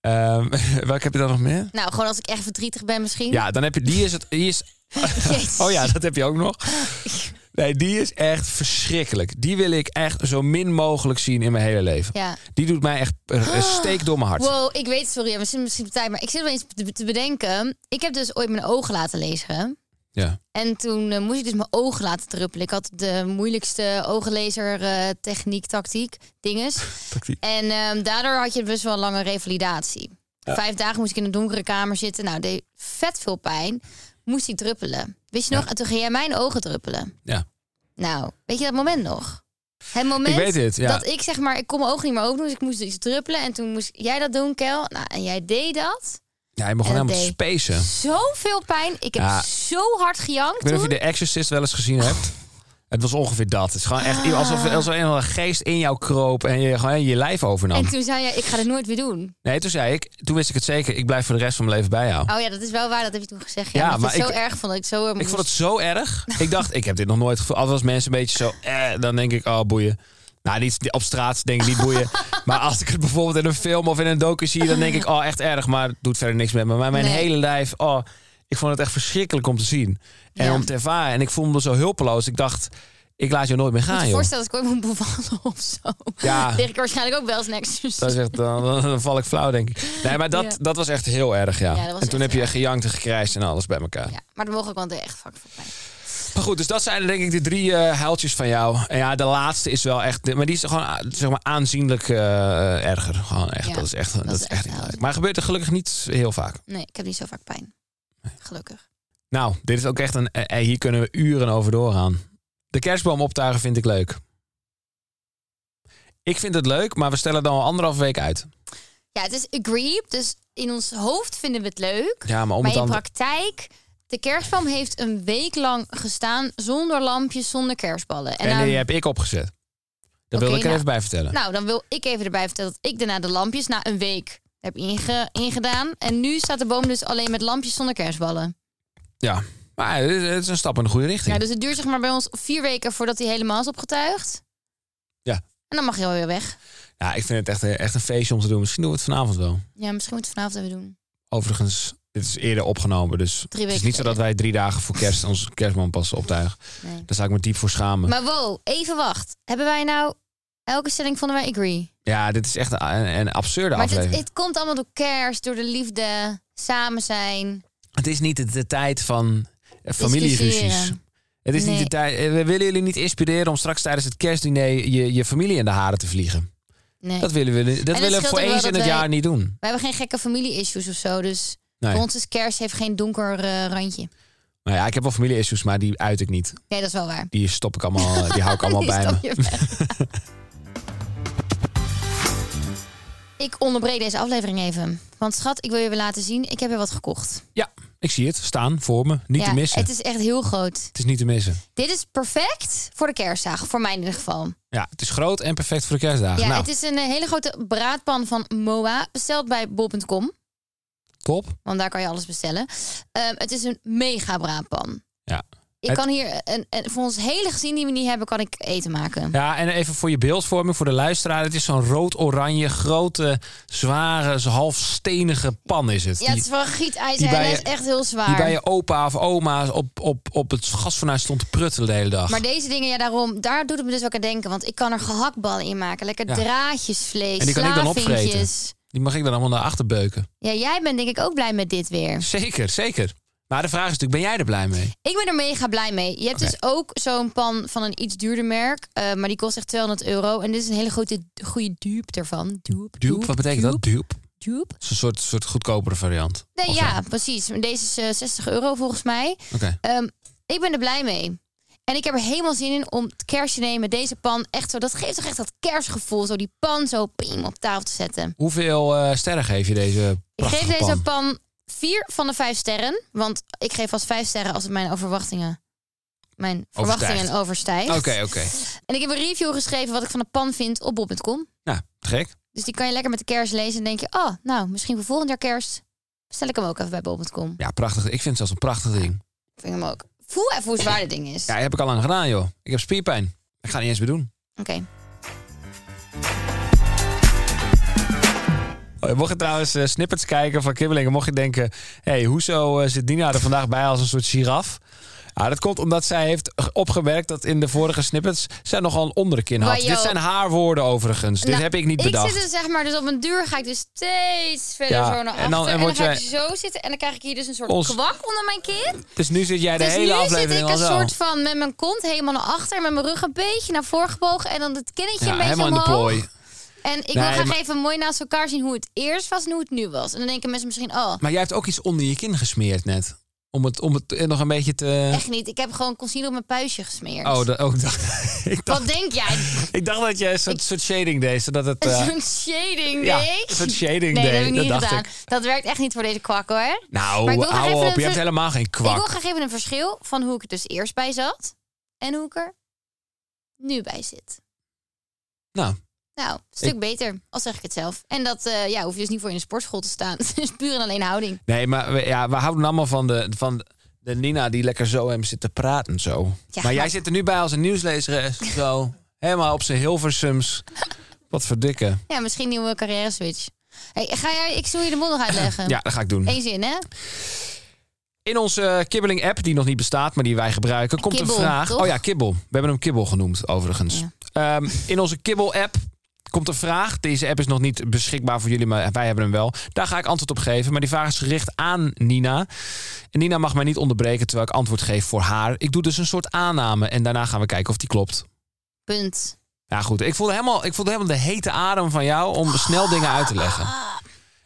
Speaker 2: Ehm, <laughs> welke heb je dan nog meer?
Speaker 3: Nou, gewoon als ik echt verdrietig ben misschien.
Speaker 2: Ja, dan heb je, die is, het, die is
Speaker 3: <laughs> Jezus.
Speaker 2: Oh ja, dat heb je ook
Speaker 3: <laughs>
Speaker 2: nog. Nee, die is echt verschrikkelijk. Die wil ik echt zo min mogelijk zien in mijn hele leven.
Speaker 3: Ja.
Speaker 2: Die doet mij echt een steek door mijn hart.
Speaker 3: Wow, ik weet, sorry, we zitten misschien op tijd, maar ik zit wel eens te, te bedenken. Ik heb dus ooit mijn ogen laten lezen.
Speaker 2: Ja.
Speaker 3: En toen eh, moest ik dus mijn ogen laten druppelen. Ik had de moeilijkste ooglezer eh, techniek, tactiek, dinges.
Speaker 2: Tactiek.
Speaker 3: En ehm, daardoor had je best wel een lange revalidatie. Vijf dagen moest ik in een donkere kamer zitten. Nou, deed vet veel pijn. Moest ik druppelen. Wist je nog? En toen ging jij mijn ogen druppelen.
Speaker 2: Ja.
Speaker 3: Nou, weet je dat moment nog? Het moment
Speaker 2: Ik weet het, ja.
Speaker 3: dat ik zeg maar, ik kon mijn ogen niet meer open doen. Dus ik moest iets druppelen. En toen moest jij dat doen, Kel. Nou, en jij deed dat.
Speaker 2: Ja, hij begon
Speaker 3: En dat
Speaker 2: helemaal te spacen.
Speaker 3: Zoveel pijn. Ik heb
Speaker 2: Ja.
Speaker 3: zo hard gejankt
Speaker 2: Ik weet niet
Speaker 3: toen.
Speaker 2: of je de Exorcist wel eens gezien hebt. Het was ongeveer dat. Het is gewoon echt
Speaker 3: Ah.
Speaker 2: alsof, alsof er een geest in jou kroop en je gewoon je lijf overnam.
Speaker 3: En toen zei jij, ik ga dit nooit weer doen.
Speaker 2: Nee, toen zei ik, toen wist ik het zeker, ik blijf voor de rest van mijn leven bij jou.
Speaker 3: Oh ja, dat is wel waar. Dat heb je toen gezegd. Ja,
Speaker 2: Ja,
Speaker 3: dat
Speaker 2: maar
Speaker 3: ik het zo
Speaker 2: ik-
Speaker 3: erg vond. Dat ik zo... eh,
Speaker 2: Ik vond het zo erg. Ik dacht, ik heb dit nog nooit gevoeld. Altijd als mensen een beetje zo, eh, dan denk ik, oh boeien. Nou, niet op straat denk ik niet
Speaker 3: <laughs>
Speaker 2: boeien. Maar als ik het bijvoorbeeld in een film of in een docu zie, dan denk ik, oh echt erg, maar het doet verder niks met me. Maar mijn
Speaker 3: Nee.
Speaker 2: hele lijf, oh, ik vond het echt verschrikkelijk om te zien. En
Speaker 3: Ja.
Speaker 2: om te ervaren. En ik voelde me zo hulpeloos. Ik dacht, Ik laat je nooit meer
Speaker 3: Moet
Speaker 2: gaan,
Speaker 3: je
Speaker 2: Ah, joh.
Speaker 3: voorstellen als ik ooit moet bevallen of zo. <laughs>
Speaker 2: Ja.
Speaker 3: Lig ik waarschijnlijk ook wel eens niks. Dus-
Speaker 2: Dat is echt, dan, dan val ik flauw, denk ik. Nee, maar dat,
Speaker 3: Ja.
Speaker 2: dat was echt heel erg, ja.
Speaker 3: Ja, dat was
Speaker 2: en toen
Speaker 3: echt
Speaker 2: heb je gejankt en gekrijsd en alles bij elkaar.
Speaker 3: Ja, maar dan mogen ook wel de echt vak voor mij.
Speaker 2: Maar goed, dus dat zijn denk ik de drie eh, huiltjes van jou. En ja, de laatste is wel echt... Maar die is gewoon ah, zeg maar, aanzienlijk eh, erger. Gewoon echt,
Speaker 3: Ja,
Speaker 2: dat is echt, dat is echt niet
Speaker 3: een
Speaker 2: leuk.
Speaker 3: huil.
Speaker 2: Maar gebeurt er gelukkig niet heel vaak.
Speaker 3: Nee, ik heb niet zo vaak pijn. Gelukkig.
Speaker 2: Nou, dit is ook echt een... eh, eh, hier kunnen we uren over doorgaan. De kerstboom optuigen vind ik leuk. Ik vind het leuk, maar we stellen dan al anderhalf week uit.
Speaker 3: Ja, het is agree. Dus in ons hoofd vinden we het leuk.
Speaker 2: Ja, maar om
Speaker 3: maar
Speaker 2: het
Speaker 3: in
Speaker 2: dan...
Speaker 3: praktijk, de kerstboom heeft een week lang gestaan zonder lampjes, zonder kerstballen.
Speaker 2: En,
Speaker 3: dan-
Speaker 2: die heb ik opgezet. Dat
Speaker 3: ehm, Oké,
Speaker 2: wilde ik er
Speaker 3: nou-
Speaker 2: even bij vertellen.
Speaker 3: Nou, dan wil ik even erbij vertellen dat ik daarna de lampjes na een week heb inge- ingedaan. En nu staat de boom dus alleen met lampjes zonder kerstballen.
Speaker 2: Ja, maar het is- het is een stap in de goede richting.
Speaker 3: Ja, dus het duurt zeg maar bij ons vier weken voordat hij helemaal is opgetuigd.
Speaker 2: Ja.
Speaker 3: En dan mag je alweer weg.
Speaker 2: Ja, ik vind het echt, eh, echt een feestje om te doen. Misschien doen we het vanavond wel.
Speaker 3: Ja, misschien moeten we vanavond even doen.
Speaker 2: Overigens, dit is eerder opgenomen. Dus
Speaker 3: Drie
Speaker 2: het is
Speaker 3: weken
Speaker 2: niet zo dat wij drie dagen voor
Speaker 3: <laughs>
Speaker 2: kerst onze kerstman pas optuigen.
Speaker 3: Nee.
Speaker 2: Daar zou ik me diep voor schamen.
Speaker 3: Maar wow, even wacht. Hebben wij nou... Elke stelling vonden wij agree.
Speaker 2: ja, dit is echt een, een absurde
Speaker 3: Maar
Speaker 2: aflevering.
Speaker 3: dit, het komt allemaal door kerst, door de liefde, samen zijn.
Speaker 2: Het is niet de, de tijd van eh, familieruzies.
Speaker 3: Discussiëren.
Speaker 2: Het is niet
Speaker 3: Nee.
Speaker 2: de tijd. eh, We willen jullie niet inspireren om straks tijdens het kerstdiner je, je familie in de haren te vliegen.
Speaker 3: Nee.
Speaker 2: Dat willen we, dat willen we
Speaker 3: scheelt
Speaker 2: voor
Speaker 3: ook wel
Speaker 2: eens in
Speaker 3: dat
Speaker 2: het
Speaker 3: wij-
Speaker 2: jaar niet doen.
Speaker 3: We hebben geen gekke familie-issues of zo. Dus
Speaker 2: Nee.
Speaker 3: voor ons is kerst heeft geen donker eh, randje.
Speaker 2: Nou ja, ik heb wel familie-issues, maar die uit ik niet.
Speaker 3: Nee, dat is wel waar.
Speaker 2: Die stop ik allemaal, eh,
Speaker 3: <laughs>
Speaker 2: die hou ik allemaal
Speaker 3: Die
Speaker 2: bij
Speaker 3: stop
Speaker 2: me.
Speaker 3: je weg. <laughs> ik onderbreek deze aflevering even. Want schat, ik wil je weer laten zien. Ik heb weer wat gekocht.
Speaker 2: Ja, ik zie het staan voor me. Niet
Speaker 3: Ja,
Speaker 2: te missen.
Speaker 3: Het is echt heel groot.
Speaker 2: Het is niet te missen.
Speaker 3: Dit is perfect voor de kerstdagen. Voor mij in ieder geval.
Speaker 2: Ja, het is groot en perfect voor de kerstdagen.
Speaker 3: Ja,
Speaker 2: nou,
Speaker 3: het is een eh, hele grote braadpan van Moa. Besteld bij bol.com.
Speaker 2: top.
Speaker 3: Want daar kan je alles bestellen. Ehm, het is een mega braadpan.
Speaker 2: Ja.
Speaker 3: Ik
Speaker 2: Het-
Speaker 3: kan hier, een, een, voor ons hele gezin die we niet hebben, kan ik eten maken.
Speaker 2: Ja, en even voor je beeldvorming, voor de luisteraar. Het is zo'n rood-oranje, grote, zware, zo half stenige pan is het.
Speaker 3: Ja, het is van gietijzer
Speaker 2: die
Speaker 3: en
Speaker 2: bij
Speaker 3: hij
Speaker 2: je-
Speaker 3: is echt heel zwaar.
Speaker 2: die, die bij je opa of oma op, op, op het gasfornuis stond te pruttelen de hele dag.
Speaker 3: Maar deze dingen, ja, daarom, daar doet het me dus ook aan denken. Want ik kan er gehaktballen in maken. Lekker
Speaker 2: Ja.
Speaker 3: draadjesvlees,
Speaker 2: En die kan ik dan opvreten.
Speaker 3: slavinkjes.
Speaker 2: Die mag ik dan allemaal naar achter beuken.
Speaker 3: Ja, jij bent denk ik ook blij met dit weer.
Speaker 2: Zeker, zeker. Maar de vraag is natuurlijk, ben jij er blij mee?
Speaker 3: Ik ben er mega blij mee. Je hebt
Speaker 2: Oké.
Speaker 3: dus ook zo'n pan van een iets duurder merk. eh, maar die kost echt 200 euro. En dit is een hele grote, goede dupe ervan. Dupe,
Speaker 2: Dupe, wat betekent dat? Dupe.
Speaker 3: dat? Dupe.
Speaker 2: Het is een soort, soort goedkopere variant.
Speaker 3: Nee,
Speaker 2: Of zo.
Speaker 3: ja, precies. Maar Deze is eh, 60 euro volgens mij.
Speaker 2: Oké.
Speaker 3: Ehm, ik ben er blij mee. En ik heb er helemaal zin in om het kerstje nemen met deze pan. Echt zo, dat geeft toch echt dat kerstgevoel. Zo die pan zo piem, op tafel te zetten.
Speaker 2: Hoeveel eh, sterren geef je deze
Speaker 3: Ik
Speaker 2: prachtige
Speaker 3: geef deze
Speaker 2: pan?
Speaker 3: pan vier van de vijf sterren. Want ik geef als vijf sterren als het mijn overwachtingen... Mijn verwachtingen overstijgt.
Speaker 2: Oké, oké.
Speaker 3: En ik heb een review geschreven wat ik van de pan vind op bob.com.
Speaker 2: Nou, gek.
Speaker 3: Dus die kan je lekker met de kerst lezen. En denk je, oh, nou, misschien voor volgend jaar kerst... bestel ik hem ook even bij bob.com.
Speaker 2: Ja, prachtig. Ik vind het zelfs een prachtig ding.
Speaker 3: Vind hem ook. Voel even hoe zwaar dit ding is.
Speaker 2: Ja, heb ik al lang gedaan, joh. Ik heb spierpijn. Ik ga het niet eens meer doen.
Speaker 3: Oké.
Speaker 2: Oh, mocht je trouwens eh, snippets kijken van Kibbelingen, mocht je denken... hé, hey, hoezo eh, zit Dina er vandaag bij als een soort giraf? Ah, dat komt omdat zij heeft g- opgemerkt dat in de vorige snippets... zij nogal een onderkin had.
Speaker 3: Maar joh.
Speaker 2: Dit zijn haar woorden overigens. Dit
Speaker 3: Nou,
Speaker 2: heb ik niet bedacht.
Speaker 3: Ik zit er zeg maar, dus op een duur ga ik dus steeds verder
Speaker 2: Ja,
Speaker 3: zo naar achter.
Speaker 2: en
Speaker 3: En
Speaker 2: dan-
Speaker 3: dan,
Speaker 2: en word
Speaker 3: ga ik
Speaker 2: jij-
Speaker 3: zo zitten en dan krijg ik hier dus een soort
Speaker 2: Ons-
Speaker 3: kwak onder mijn kin.
Speaker 2: Dus nu zit jij de
Speaker 3: Dus
Speaker 2: hele
Speaker 3: nu zit
Speaker 2: aflevering
Speaker 3: ik
Speaker 2: al
Speaker 3: een
Speaker 2: zo.
Speaker 3: soort van met mijn kont helemaal naar achter, met mijn rug een beetje naar voren gebogen en dan het kinnetje
Speaker 2: ja,
Speaker 3: een beetje
Speaker 2: helemaal in de
Speaker 3: omhoog.
Speaker 2: plooi.
Speaker 3: En ik
Speaker 2: Nee,
Speaker 3: wil graag
Speaker 2: maar-
Speaker 3: even mooi naast elkaar zien hoe het eerst was en hoe het nu was. En dan denken mensen misschien, oh,
Speaker 2: Maar jij hebt ook iets onder je kin gesmeerd net. Om het, om het eh, nog een beetje te...
Speaker 3: echt niet. Ik heb gewoon concealer op mijn puistje gesmeerd.
Speaker 2: Oh, dat, ook dat. ik, dacht, <laughs>
Speaker 3: Wat denk jij?
Speaker 2: ik dacht dat jij een soort, soort shading deed, zodat
Speaker 3: <laughs>
Speaker 2: het... eh,
Speaker 3: Zo'n shading,
Speaker 2: Ja,
Speaker 3: nee?
Speaker 2: een soort shading
Speaker 3: Nee, dat
Speaker 2: day,
Speaker 3: heb ik niet
Speaker 2: dat dacht
Speaker 3: gedaan.
Speaker 2: ik.
Speaker 3: Dat werkt echt niet voor deze kwak hoor. Maar ik
Speaker 2: Nou,
Speaker 3: wil graag
Speaker 2: hou
Speaker 3: even
Speaker 2: op. Je
Speaker 3: een-
Speaker 2: hebt helemaal geen
Speaker 3: Ik wil
Speaker 2: kwak.
Speaker 3: graag even een verschil van hoe ik er dus eerst bij zat en hoe ik er nu bij zit.
Speaker 2: Nou,
Speaker 3: Nou, een stuk beter, al zeg ik het zelf. En dat eh, ja, hoef je dus niet voor in de sportschool te staan. <laughs> Het is puur en alleen houding.
Speaker 2: nee, maar we, ja, we houden allemaal van de, van de Nina die lekker zo hem zit te praten zo.
Speaker 3: Ja,
Speaker 2: maar jij
Speaker 3: maar-
Speaker 2: zit er nu bij als een nieuwslezer eh,
Speaker 3: <laughs>
Speaker 2: zo. Helemaal op zijn Hilversums. Wat verdikken.
Speaker 3: Ja, misschien nieuwe carrière
Speaker 2: <clears throat>
Speaker 3: switch. Hey, ga jij, ik zal je de mond nog uitleggen.
Speaker 2: Ja, dat ga ik doen.
Speaker 3: Eén zin, hè?
Speaker 2: In onze kibbeling-app, die nog niet bestaat, maar die wij gebruiken, komt
Speaker 3: Kibbel,
Speaker 2: een vraag.
Speaker 3: toch?
Speaker 2: Oh ja, kibbel. We hebben hem kibbel genoemd, overigens. Ehm, in onze kibbel-app komt een vraag. Deze app is nog niet beschikbaar voor jullie, maar wij hebben hem wel. Daar ga ik antwoord op geven. Maar die vraag is gericht aan Nina. En Nina mag mij niet onderbreken terwijl ik antwoord geef voor haar. Ik doe dus een soort aanname en daarna gaan we kijken of die klopt.
Speaker 3: Punt.
Speaker 2: Ja, goed. Ik voelde helemaal, ik voelde helemaal de hete adem van jou om snel dingen uit te leggen.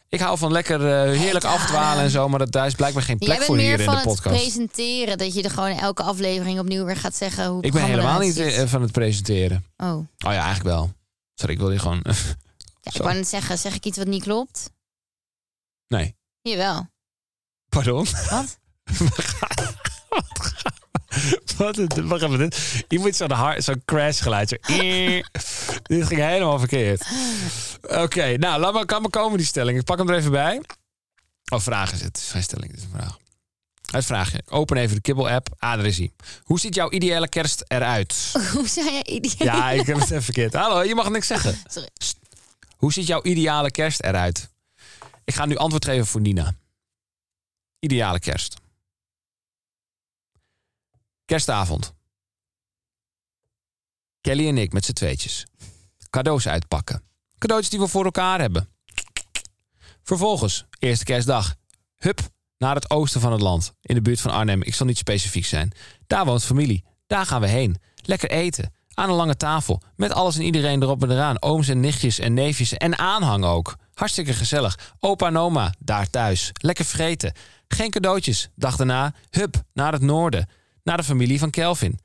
Speaker 2: Ik hou van lekker eh, heerlijk afdwalen en zo, maar dat, daar is blijkbaar geen
Speaker 3: Jij
Speaker 2: plek
Speaker 3: bent
Speaker 2: voor
Speaker 3: meer
Speaker 2: hier in
Speaker 3: van
Speaker 2: de
Speaker 3: het
Speaker 2: podcast.
Speaker 3: presenteren. Dat je er gewoon elke aflevering opnieuw weer gaat zeggen hoe het
Speaker 2: Ik ben
Speaker 3: programma
Speaker 2: helemaal niet
Speaker 3: eruit ziet.
Speaker 2: eh, van het presenteren.
Speaker 3: Oh,
Speaker 2: Oh ja, eigenlijk wel. Sorry, ik wil hier gewoon. <laughs>
Speaker 3: ja, ik
Speaker 2: Zo.
Speaker 3: wou net zeggen. Zeg ik iets wat niet klopt?
Speaker 2: Nee.
Speaker 3: Jawel. <laughs>
Speaker 2: Pardon?
Speaker 3: Wat?
Speaker 2: <laughs> Wat een- Wacht even. Dit. Je moet zo'n hard- zo'n crash geluid. Zo. <laughs> dit ging helemaal verkeerd. Oké, nou, laat maar, kan maar komen die stelling. Ik pak hem er even bij. Oh, vraag is het. Het is geen stelling, het is een vraag. Het vraagje. Open even de Kibbel-app. Ah, daar is hij. Hoe ziet jouw ideale kerst
Speaker 3: <laughs>
Speaker 2: eruit?
Speaker 3: Hoe zei jij ideaal? <laughs>
Speaker 2: Ja, ik heb het even verkeerd. Hallo, je mag niks zeggen.
Speaker 3: Sorry.
Speaker 2: Hoe ziet jouw ideale kerst eruit? Ik ga nu antwoord geven voor Nina. Ideale kerst. Kerstavond. Kelly en ik met z'n tweetjes. Cadeaus uitpakken. Cadeautjes die we voor elkaar hebben. Vervolgens, eerste kerstdag. Hup, naar het oosten van het land. In de buurt van Arnhem. Ik zal niet specifiek zijn. Daar woont familie. Daar gaan we heen. Lekker eten. Aan een lange tafel. Met alles en iedereen erop en eraan. Ooms en nichtjes en neefjes. En aanhang ook. Hartstikke gezellig. Opa en oma, daar thuis. Lekker vreten. Geen cadeautjes. Dag daarna, hup, naar het noorden. Naar de familie van Kelvin.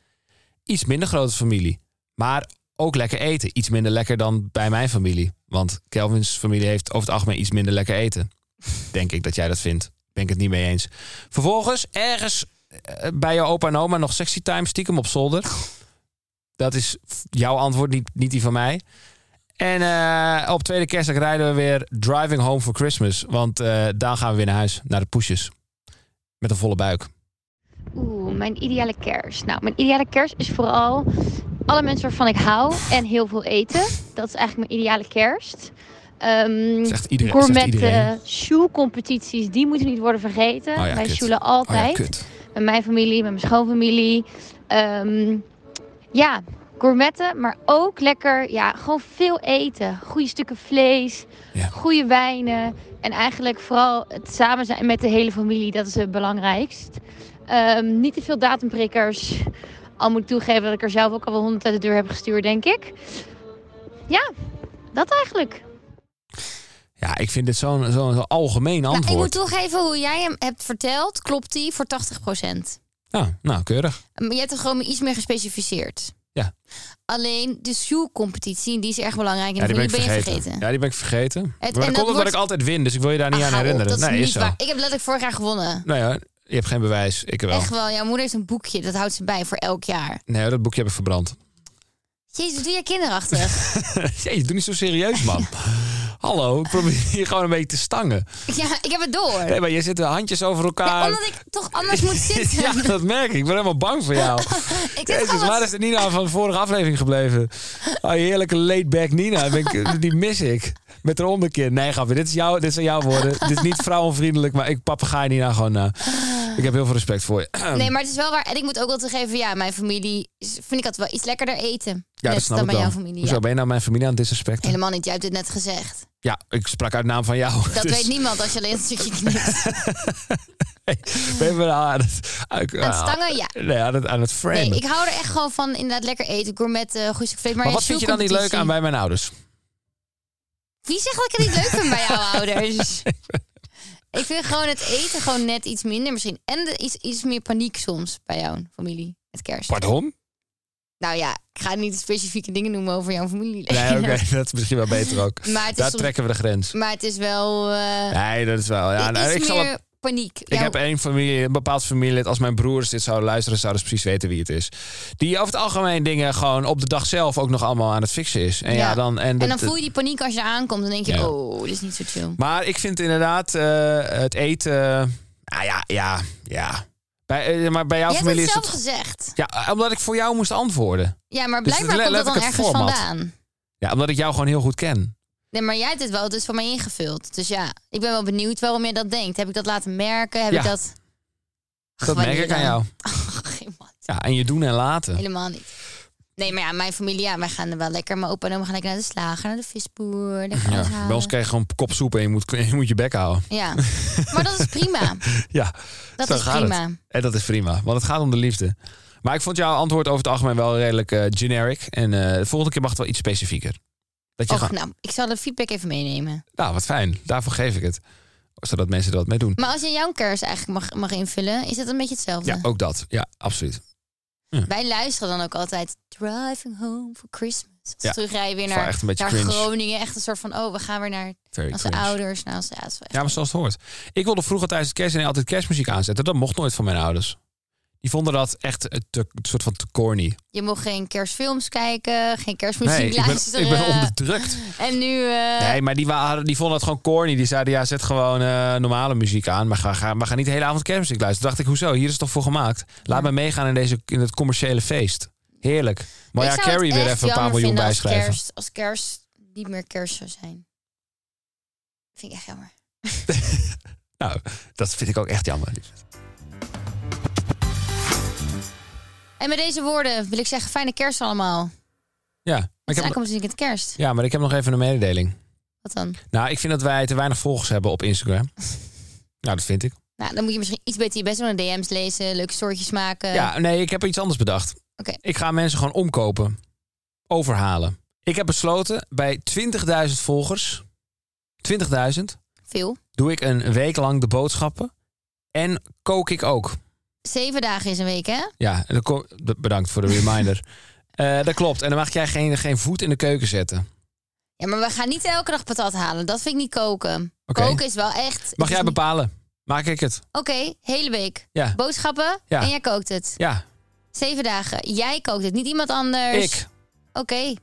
Speaker 2: Iets minder grote familie. Maar ook lekker eten. Iets minder lekker dan bij mijn familie. Want Kelvins familie heeft over het algemeen iets minder lekker eten. Denk ik dat jij dat vindt. Ben ik het niet mee eens. Vervolgens, ergens eh, bij jouw opa en oma nog sexy time stiekem op zolder. Dat is f- jouw antwoord, niet, niet die van mij. En eh, op tweede kerstdag rijden we weer driving home for Christmas. Want eh daar gaan we weer naar huis, naar de poesjes. Met een volle buik.
Speaker 4: Oeh, mijn ideale kerst. Nou, mijn ideale kerst is vooral alle mensen waarvan ik hou en heel veel eten. Dat is eigenlijk mijn ideale kerst. Ehm
Speaker 2: Zegt iedereen. zegt iedereen.
Speaker 4: gourmetten, shoe-competities, die moeten niet worden vergeten.
Speaker 2: Oh ja,
Speaker 4: Wij
Speaker 2: kut.
Speaker 4: shoelen
Speaker 2: Oh ja,
Speaker 4: altijd.
Speaker 2: kut.
Speaker 4: met mijn familie, met mijn schoonfamilie. Ehm, ja, gourmetten, maar ook lekker, ja, gewoon veel eten. Goede stukken vlees,
Speaker 2: Ja.
Speaker 4: goede wijnen. En eigenlijk vooral het samen zijn met de hele familie, dat is het belangrijkst. Ehm, niet te veel datumprikkers. Al moet ik toegeven dat ik er zelf ook al wel honderd uit de deur heb gestuurd, denk ik. Ja, dat eigenlijk.
Speaker 3: Nou,
Speaker 2: Ja, ik vind dit zo'n zo'n zo'n algemeen
Speaker 3: Nou, ik moet
Speaker 2: antwoord.
Speaker 3: toegeven hoe jij hem hebt verteld. Klopt die voor 80%?
Speaker 2: Ja, nou, keurig.
Speaker 3: Maar je hebt het gewoon iets meer gespecificeerd.
Speaker 2: Ja.
Speaker 3: Alleen de shoe-competitie, die is erg belangrijk. En
Speaker 2: Ja, die ben ik
Speaker 3: ben je
Speaker 2: vergeten.
Speaker 3: vergeten.
Speaker 2: Ja, die ben ik vergeten. maar
Speaker 3: en
Speaker 2: dat
Speaker 3: dat
Speaker 2: komt omdat
Speaker 3: wordt-
Speaker 2: ik altijd win, dus ik wil je daar niet
Speaker 3: Ah,
Speaker 2: aan
Speaker 3: hou op, dat
Speaker 2: herinneren.
Speaker 3: is
Speaker 2: nee,
Speaker 3: niet
Speaker 2: is zo.
Speaker 3: waar. Ik heb letterlijk vorig jaar gewonnen.
Speaker 2: Nou ja, je hebt geen bewijs. Ik wel.
Speaker 3: Echt wel, jouw moeder heeft een boekje. Dat houdt ze bij voor elk jaar.
Speaker 2: Nee, dat boekje heb ik verbrand. <laughs>
Speaker 3: Jezus, doe je kinderachtig.
Speaker 2: Jezus, doe niet zo
Speaker 3: <laughs>
Speaker 2: serieus, man. Hallo, ik probeer hier gewoon een beetje te stangen.
Speaker 3: ja, ik heb het door.
Speaker 2: Nee, maar je zit de handjes over
Speaker 3: Ja,
Speaker 2: elkaar.
Speaker 3: omdat ik toch anders
Speaker 2: <laughs>
Speaker 3: moet zitten.
Speaker 2: Ja, dat merk ik. Ik ben helemaal bang voor
Speaker 3: <laughs>
Speaker 2: jou.
Speaker 3: ik zit
Speaker 2: Jezus,
Speaker 3: gewoon
Speaker 2: waar
Speaker 3: wat-
Speaker 2: is de Nina van de vorige aflevering gebleven? Oh, je heerlijke laid-back Nina. Ben ik- die mis ik. Met haar onderkin. Nee, grapje. Dit, is jouw, dit zijn jouw woorden. dit is niet vrouwenvriendelijk, maar ik papegaai Nina gewoon na. Ik heb heel veel respect voor je. <clears throat>
Speaker 3: Nee, maar het is wel waar. En ik moet ook wel toegeven, ja, mijn familie is- vind ik altijd wel iets lekkerder eten.
Speaker 2: Ja,
Speaker 3: net
Speaker 2: dat
Speaker 3: dan
Speaker 2: snap
Speaker 3: bij
Speaker 2: ik wel.
Speaker 3: jouw familie.
Speaker 2: Hoezo
Speaker 3: Ja.
Speaker 2: ben je nou mijn familie aan het disrespecten?
Speaker 3: Helemaal niet, jij hebt dit net gezegd.
Speaker 2: Ja, ik sprak uit naam van jou.
Speaker 3: Dat
Speaker 2: dus-
Speaker 3: weet niemand als je alleen een
Speaker 2: <laughs>
Speaker 3: stukje knipt.
Speaker 2: We hebben aan het, aan,
Speaker 3: Aan stangen, ja.
Speaker 2: Nee, aan het, aan het frame.
Speaker 3: Nee, ik hou er echt gewoon van inderdaad lekker eten, gourmetten, goed stuk vlees. Maar,
Speaker 2: maar
Speaker 3: ja,
Speaker 2: wat vind je dan niet leuk
Speaker 3: zoekcompetitie.
Speaker 2: aan bij mijn ouders?
Speaker 3: Wie zegt dat ik het niet leuk vind bij
Speaker 2: <laughs>
Speaker 3: jouw ouders? Ik vind gewoon het eten gewoon net iets minder misschien. En er is iets meer paniek soms bij jouw familie met kerst.
Speaker 2: Pardon?
Speaker 3: Nou ja, ik ga niet specifieke dingen noemen over jouw familie. <laughs>
Speaker 2: Nee, oké, dat is misschien wel beter ook.
Speaker 3: Maar het is
Speaker 2: Daar
Speaker 3: soms-
Speaker 2: trekken we de grens.
Speaker 3: Maar het is wel eh
Speaker 2: Nee, dat is wel. Ja, nou,
Speaker 3: iets
Speaker 2: ik, zal
Speaker 3: meer
Speaker 2: het-
Speaker 3: paniek.
Speaker 2: ik
Speaker 3: Jouw-
Speaker 2: heb één familie, een bepaald familielid. Als mijn broers dit zouden luisteren, zouden ze precies weten wie het is. Die over het algemeen dingen gewoon op de dag zelf ook nog allemaal aan het fixen is. En ja, dan. En,
Speaker 3: en
Speaker 2: dat-
Speaker 3: dan voel je die paniek als je aankomt. Dan denk je,
Speaker 2: Ja.
Speaker 3: oh, dit is niet zo chill.
Speaker 2: Maar ik vind inderdaad eh, het eten. ah ja, ja, ja. Bij, eh, maar bij jouw
Speaker 3: Je hebt
Speaker 2: familie
Speaker 3: het
Speaker 2: is
Speaker 3: zelf
Speaker 2: het.
Speaker 3: gezegd.
Speaker 2: Ja, eh, omdat ik voor jou moest antwoorden.
Speaker 3: Ja, maar
Speaker 2: Dus
Speaker 3: blijkbaar
Speaker 2: le-
Speaker 3: komt dat
Speaker 2: letterlijk
Speaker 3: dan
Speaker 2: het
Speaker 3: ergens
Speaker 2: format.
Speaker 3: vandaan.
Speaker 2: Ja, omdat ik jou gewoon heel goed ken.
Speaker 3: Nee, maar jij hebt het wel dus voor mij ingevuld. Dus ja, ik ben wel benieuwd waarom jij dat denkt. Heb ik dat laten merken? Heb
Speaker 2: Ja.
Speaker 3: ik dat...
Speaker 2: Dat merk
Speaker 3: wanneer
Speaker 2: ik aan
Speaker 3: dan?
Speaker 2: jou.
Speaker 3: <laughs> Geen man.
Speaker 2: Ja, en je doen en laten.
Speaker 3: Helemaal niet. Nee, maar ja, mijn familie, ja, wij gaan er wel lekker. Mijn opa en oma gaan lekker naar de slager, naar de visboer. daar gaan we
Speaker 2: Ja,
Speaker 3: ze halen.
Speaker 2: bij ons krijg je gewoon kop soep en je moet, <laughs> je moet je bek houden.
Speaker 3: Ja, maar dat is
Speaker 2: <laughs>
Speaker 3: prima.
Speaker 2: Ja,
Speaker 3: Dat
Speaker 2: zo
Speaker 3: is
Speaker 2: gaat
Speaker 3: prima.
Speaker 2: Het. En dat is prima, want het gaat om de liefde. Maar ik vond jouw antwoord over het algemeen wel redelijk eh, generic. En eh, de volgende keer mag het wel iets specifieker. Dat je
Speaker 3: Och,
Speaker 2: gewoon-
Speaker 3: nou, ik zal de feedback even meenemen.
Speaker 2: Nou, wat fijn. Daarvoor geef ik het. Zodat mensen er wat mee doen.
Speaker 3: Maar als je jouw kers eigenlijk mag, mag invullen, is dat een beetje hetzelfde.
Speaker 2: Ja, ook dat. Ja, absoluut.
Speaker 3: Wij luisteren dan ook altijd Driving Home for Christmas. Als we
Speaker 2: Ja,
Speaker 3: terugrijden weer
Speaker 2: wel
Speaker 3: naar,
Speaker 2: echt een beetje
Speaker 3: naar
Speaker 2: cringe.
Speaker 3: Groningen. Echt een soort van, oh, we gaan weer naar
Speaker 2: Very
Speaker 3: onze
Speaker 2: cringe.
Speaker 3: ouders. Nou, ja, dat is wel echt-
Speaker 2: Ja, maar zoals het hoort. Ik wilde vroeger tijdens het kerst en altijd kerstmuziek aanzetten. Dat mocht nooit van mijn ouders. Die vonden dat echt eh, te- een soort van te corny.
Speaker 3: Je mocht geen kerstfilms kijken, geen kerstmuziek
Speaker 2: Nee, ik ben,
Speaker 3: luisteren.
Speaker 2: ik ben onderdrukt.
Speaker 3: En nu... eh,
Speaker 2: Nee, maar die, waren, die vonden het gewoon corny. Die zeiden, ja, zet gewoon eh, normale muziek aan. Maar ga, ga, maar ga niet de hele avond kerstmuziek luisteren. Toen dacht ik, hoezo? Hier is het toch voor gemaakt? Laat me meegaan in, deze, in het commerciële feest. Heerlijk. Maar ja,
Speaker 3: ik zou het
Speaker 2: Carrie weer
Speaker 3: echt
Speaker 2: even een paar
Speaker 3: jammer
Speaker 2: miljoen
Speaker 3: vinden als
Speaker 2: bijschrijven.
Speaker 3: Kerst, als kerst niet meer kerst zou zijn. Vind ik echt jammer.
Speaker 2: Nou, dat vind ik ook echt jammer.
Speaker 3: En met deze woorden wil ik zeggen, fijne kerst allemaal. Want
Speaker 2: Ja, maar ik
Speaker 3: het is
Speaker 2: heb,
Speaker 3: eigenlijk natuurlijk het kerst.
Speaker 2: ja, maar ik heb nog even een mededeling.
Speaker 3: Wat dan?
Speaker 2: Nou, ik vind dat wij te weinig volgers hebben op
Speaker 3: <laughs>
Speaker 2: Instagram. Nou, dat vind ik.
Speaker 3: Nou, dan moet je misschien iets beter je best doen. en DM's lezen, leuke stoortjes maken.
Speaker 2: Ja, nee, ik heb iets anders bedacht.
Speaker 3: Oké.
Speaker 2: Ik ga mensen gewoon omkopen. Overhalen. Ik heb besloten, bij 20.000 volgers... 20.000
Speaker 3: Veel.
Speaker 2: doe ik een week lang de boodschappen. En kook ik ook.
Speaker 3: Zeven dagen is een week, hè?
Speaker 2: Ja, en dan ko- d- bedankt voor de
Speaker 3: <laughs>
Speaker 2: reminder. Eh, dat klopt. En dan mag jij geen, geen voet in de keuken zetten.
Speaker 3: Ja, maar we gaan niet elke dag patat halen. Dat vind ik niet koken.
Speaker 2: Oké.
Speaker 3: Koken is wel echt...
Speaker 2: Mag
Speaker 3: het
Speaker 2: jij
Speaker 3: is niet-
Speaker 2: bepalen? Maak ik het?
Speaker 3: Oké, hele week.
Speaker 2: Ja.
Speaker 3: Boodschappen
Speaker 2: Ja.
Speaker 3: en jij kookt het.
Speaker 2: Ja,
Speaker 3: Zeven dagen. Jij kookt het, niet iemand anders.
Speaker 2: ik.
Speaker 3: Oké,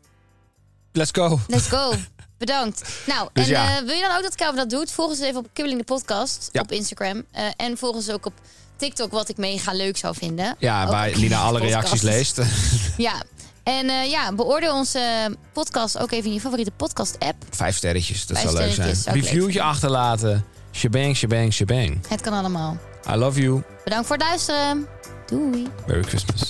Speaker 2: Let's go.
Speaker 3: let's
Speaker 2: <laughs>
Speaker 3: go. Bedankt. Nou,
Speaker 2: Dus
Speaker 3: en
Speaker 2: ja.
Speaker 3: eh, wil je dan ook dat Calvin dat doet? Volg ons even op Kibbeling de podcast
Speaker 2: Ja.
Speaker 3: op Instagram. Eh, en volg ons ook op TikTok, wat ik mega leuk zou vinden.
Speaker 2: Ja,
Speaker 3: Ook
Speaker 2: waar
Speaker 3: op <laughs>
Speaker 2: Lina alle
Speaker 3: podcast.
Speaker 2: reacties leest. <laughs>
Speaker 3: Ja. En eh, ja, beoordeel onze podcast ook even in je favoriete podcast-app.
Speaker 2: Vijf sterretjes, dat
Speaker 3: Vijf
Speaker 2: zou leuk zijn.
Speaker 3: sterretjes zou ik leuk
Speaker 2: Reviewtje achterlaten. Shebang, shebang, shebang.
Speaker 3: Het kan allemaal.
Speaker 2: I love you.
Speaker 3: Bedankt voor het luisteren. Doei.
Speaker 2: Merry Christmas.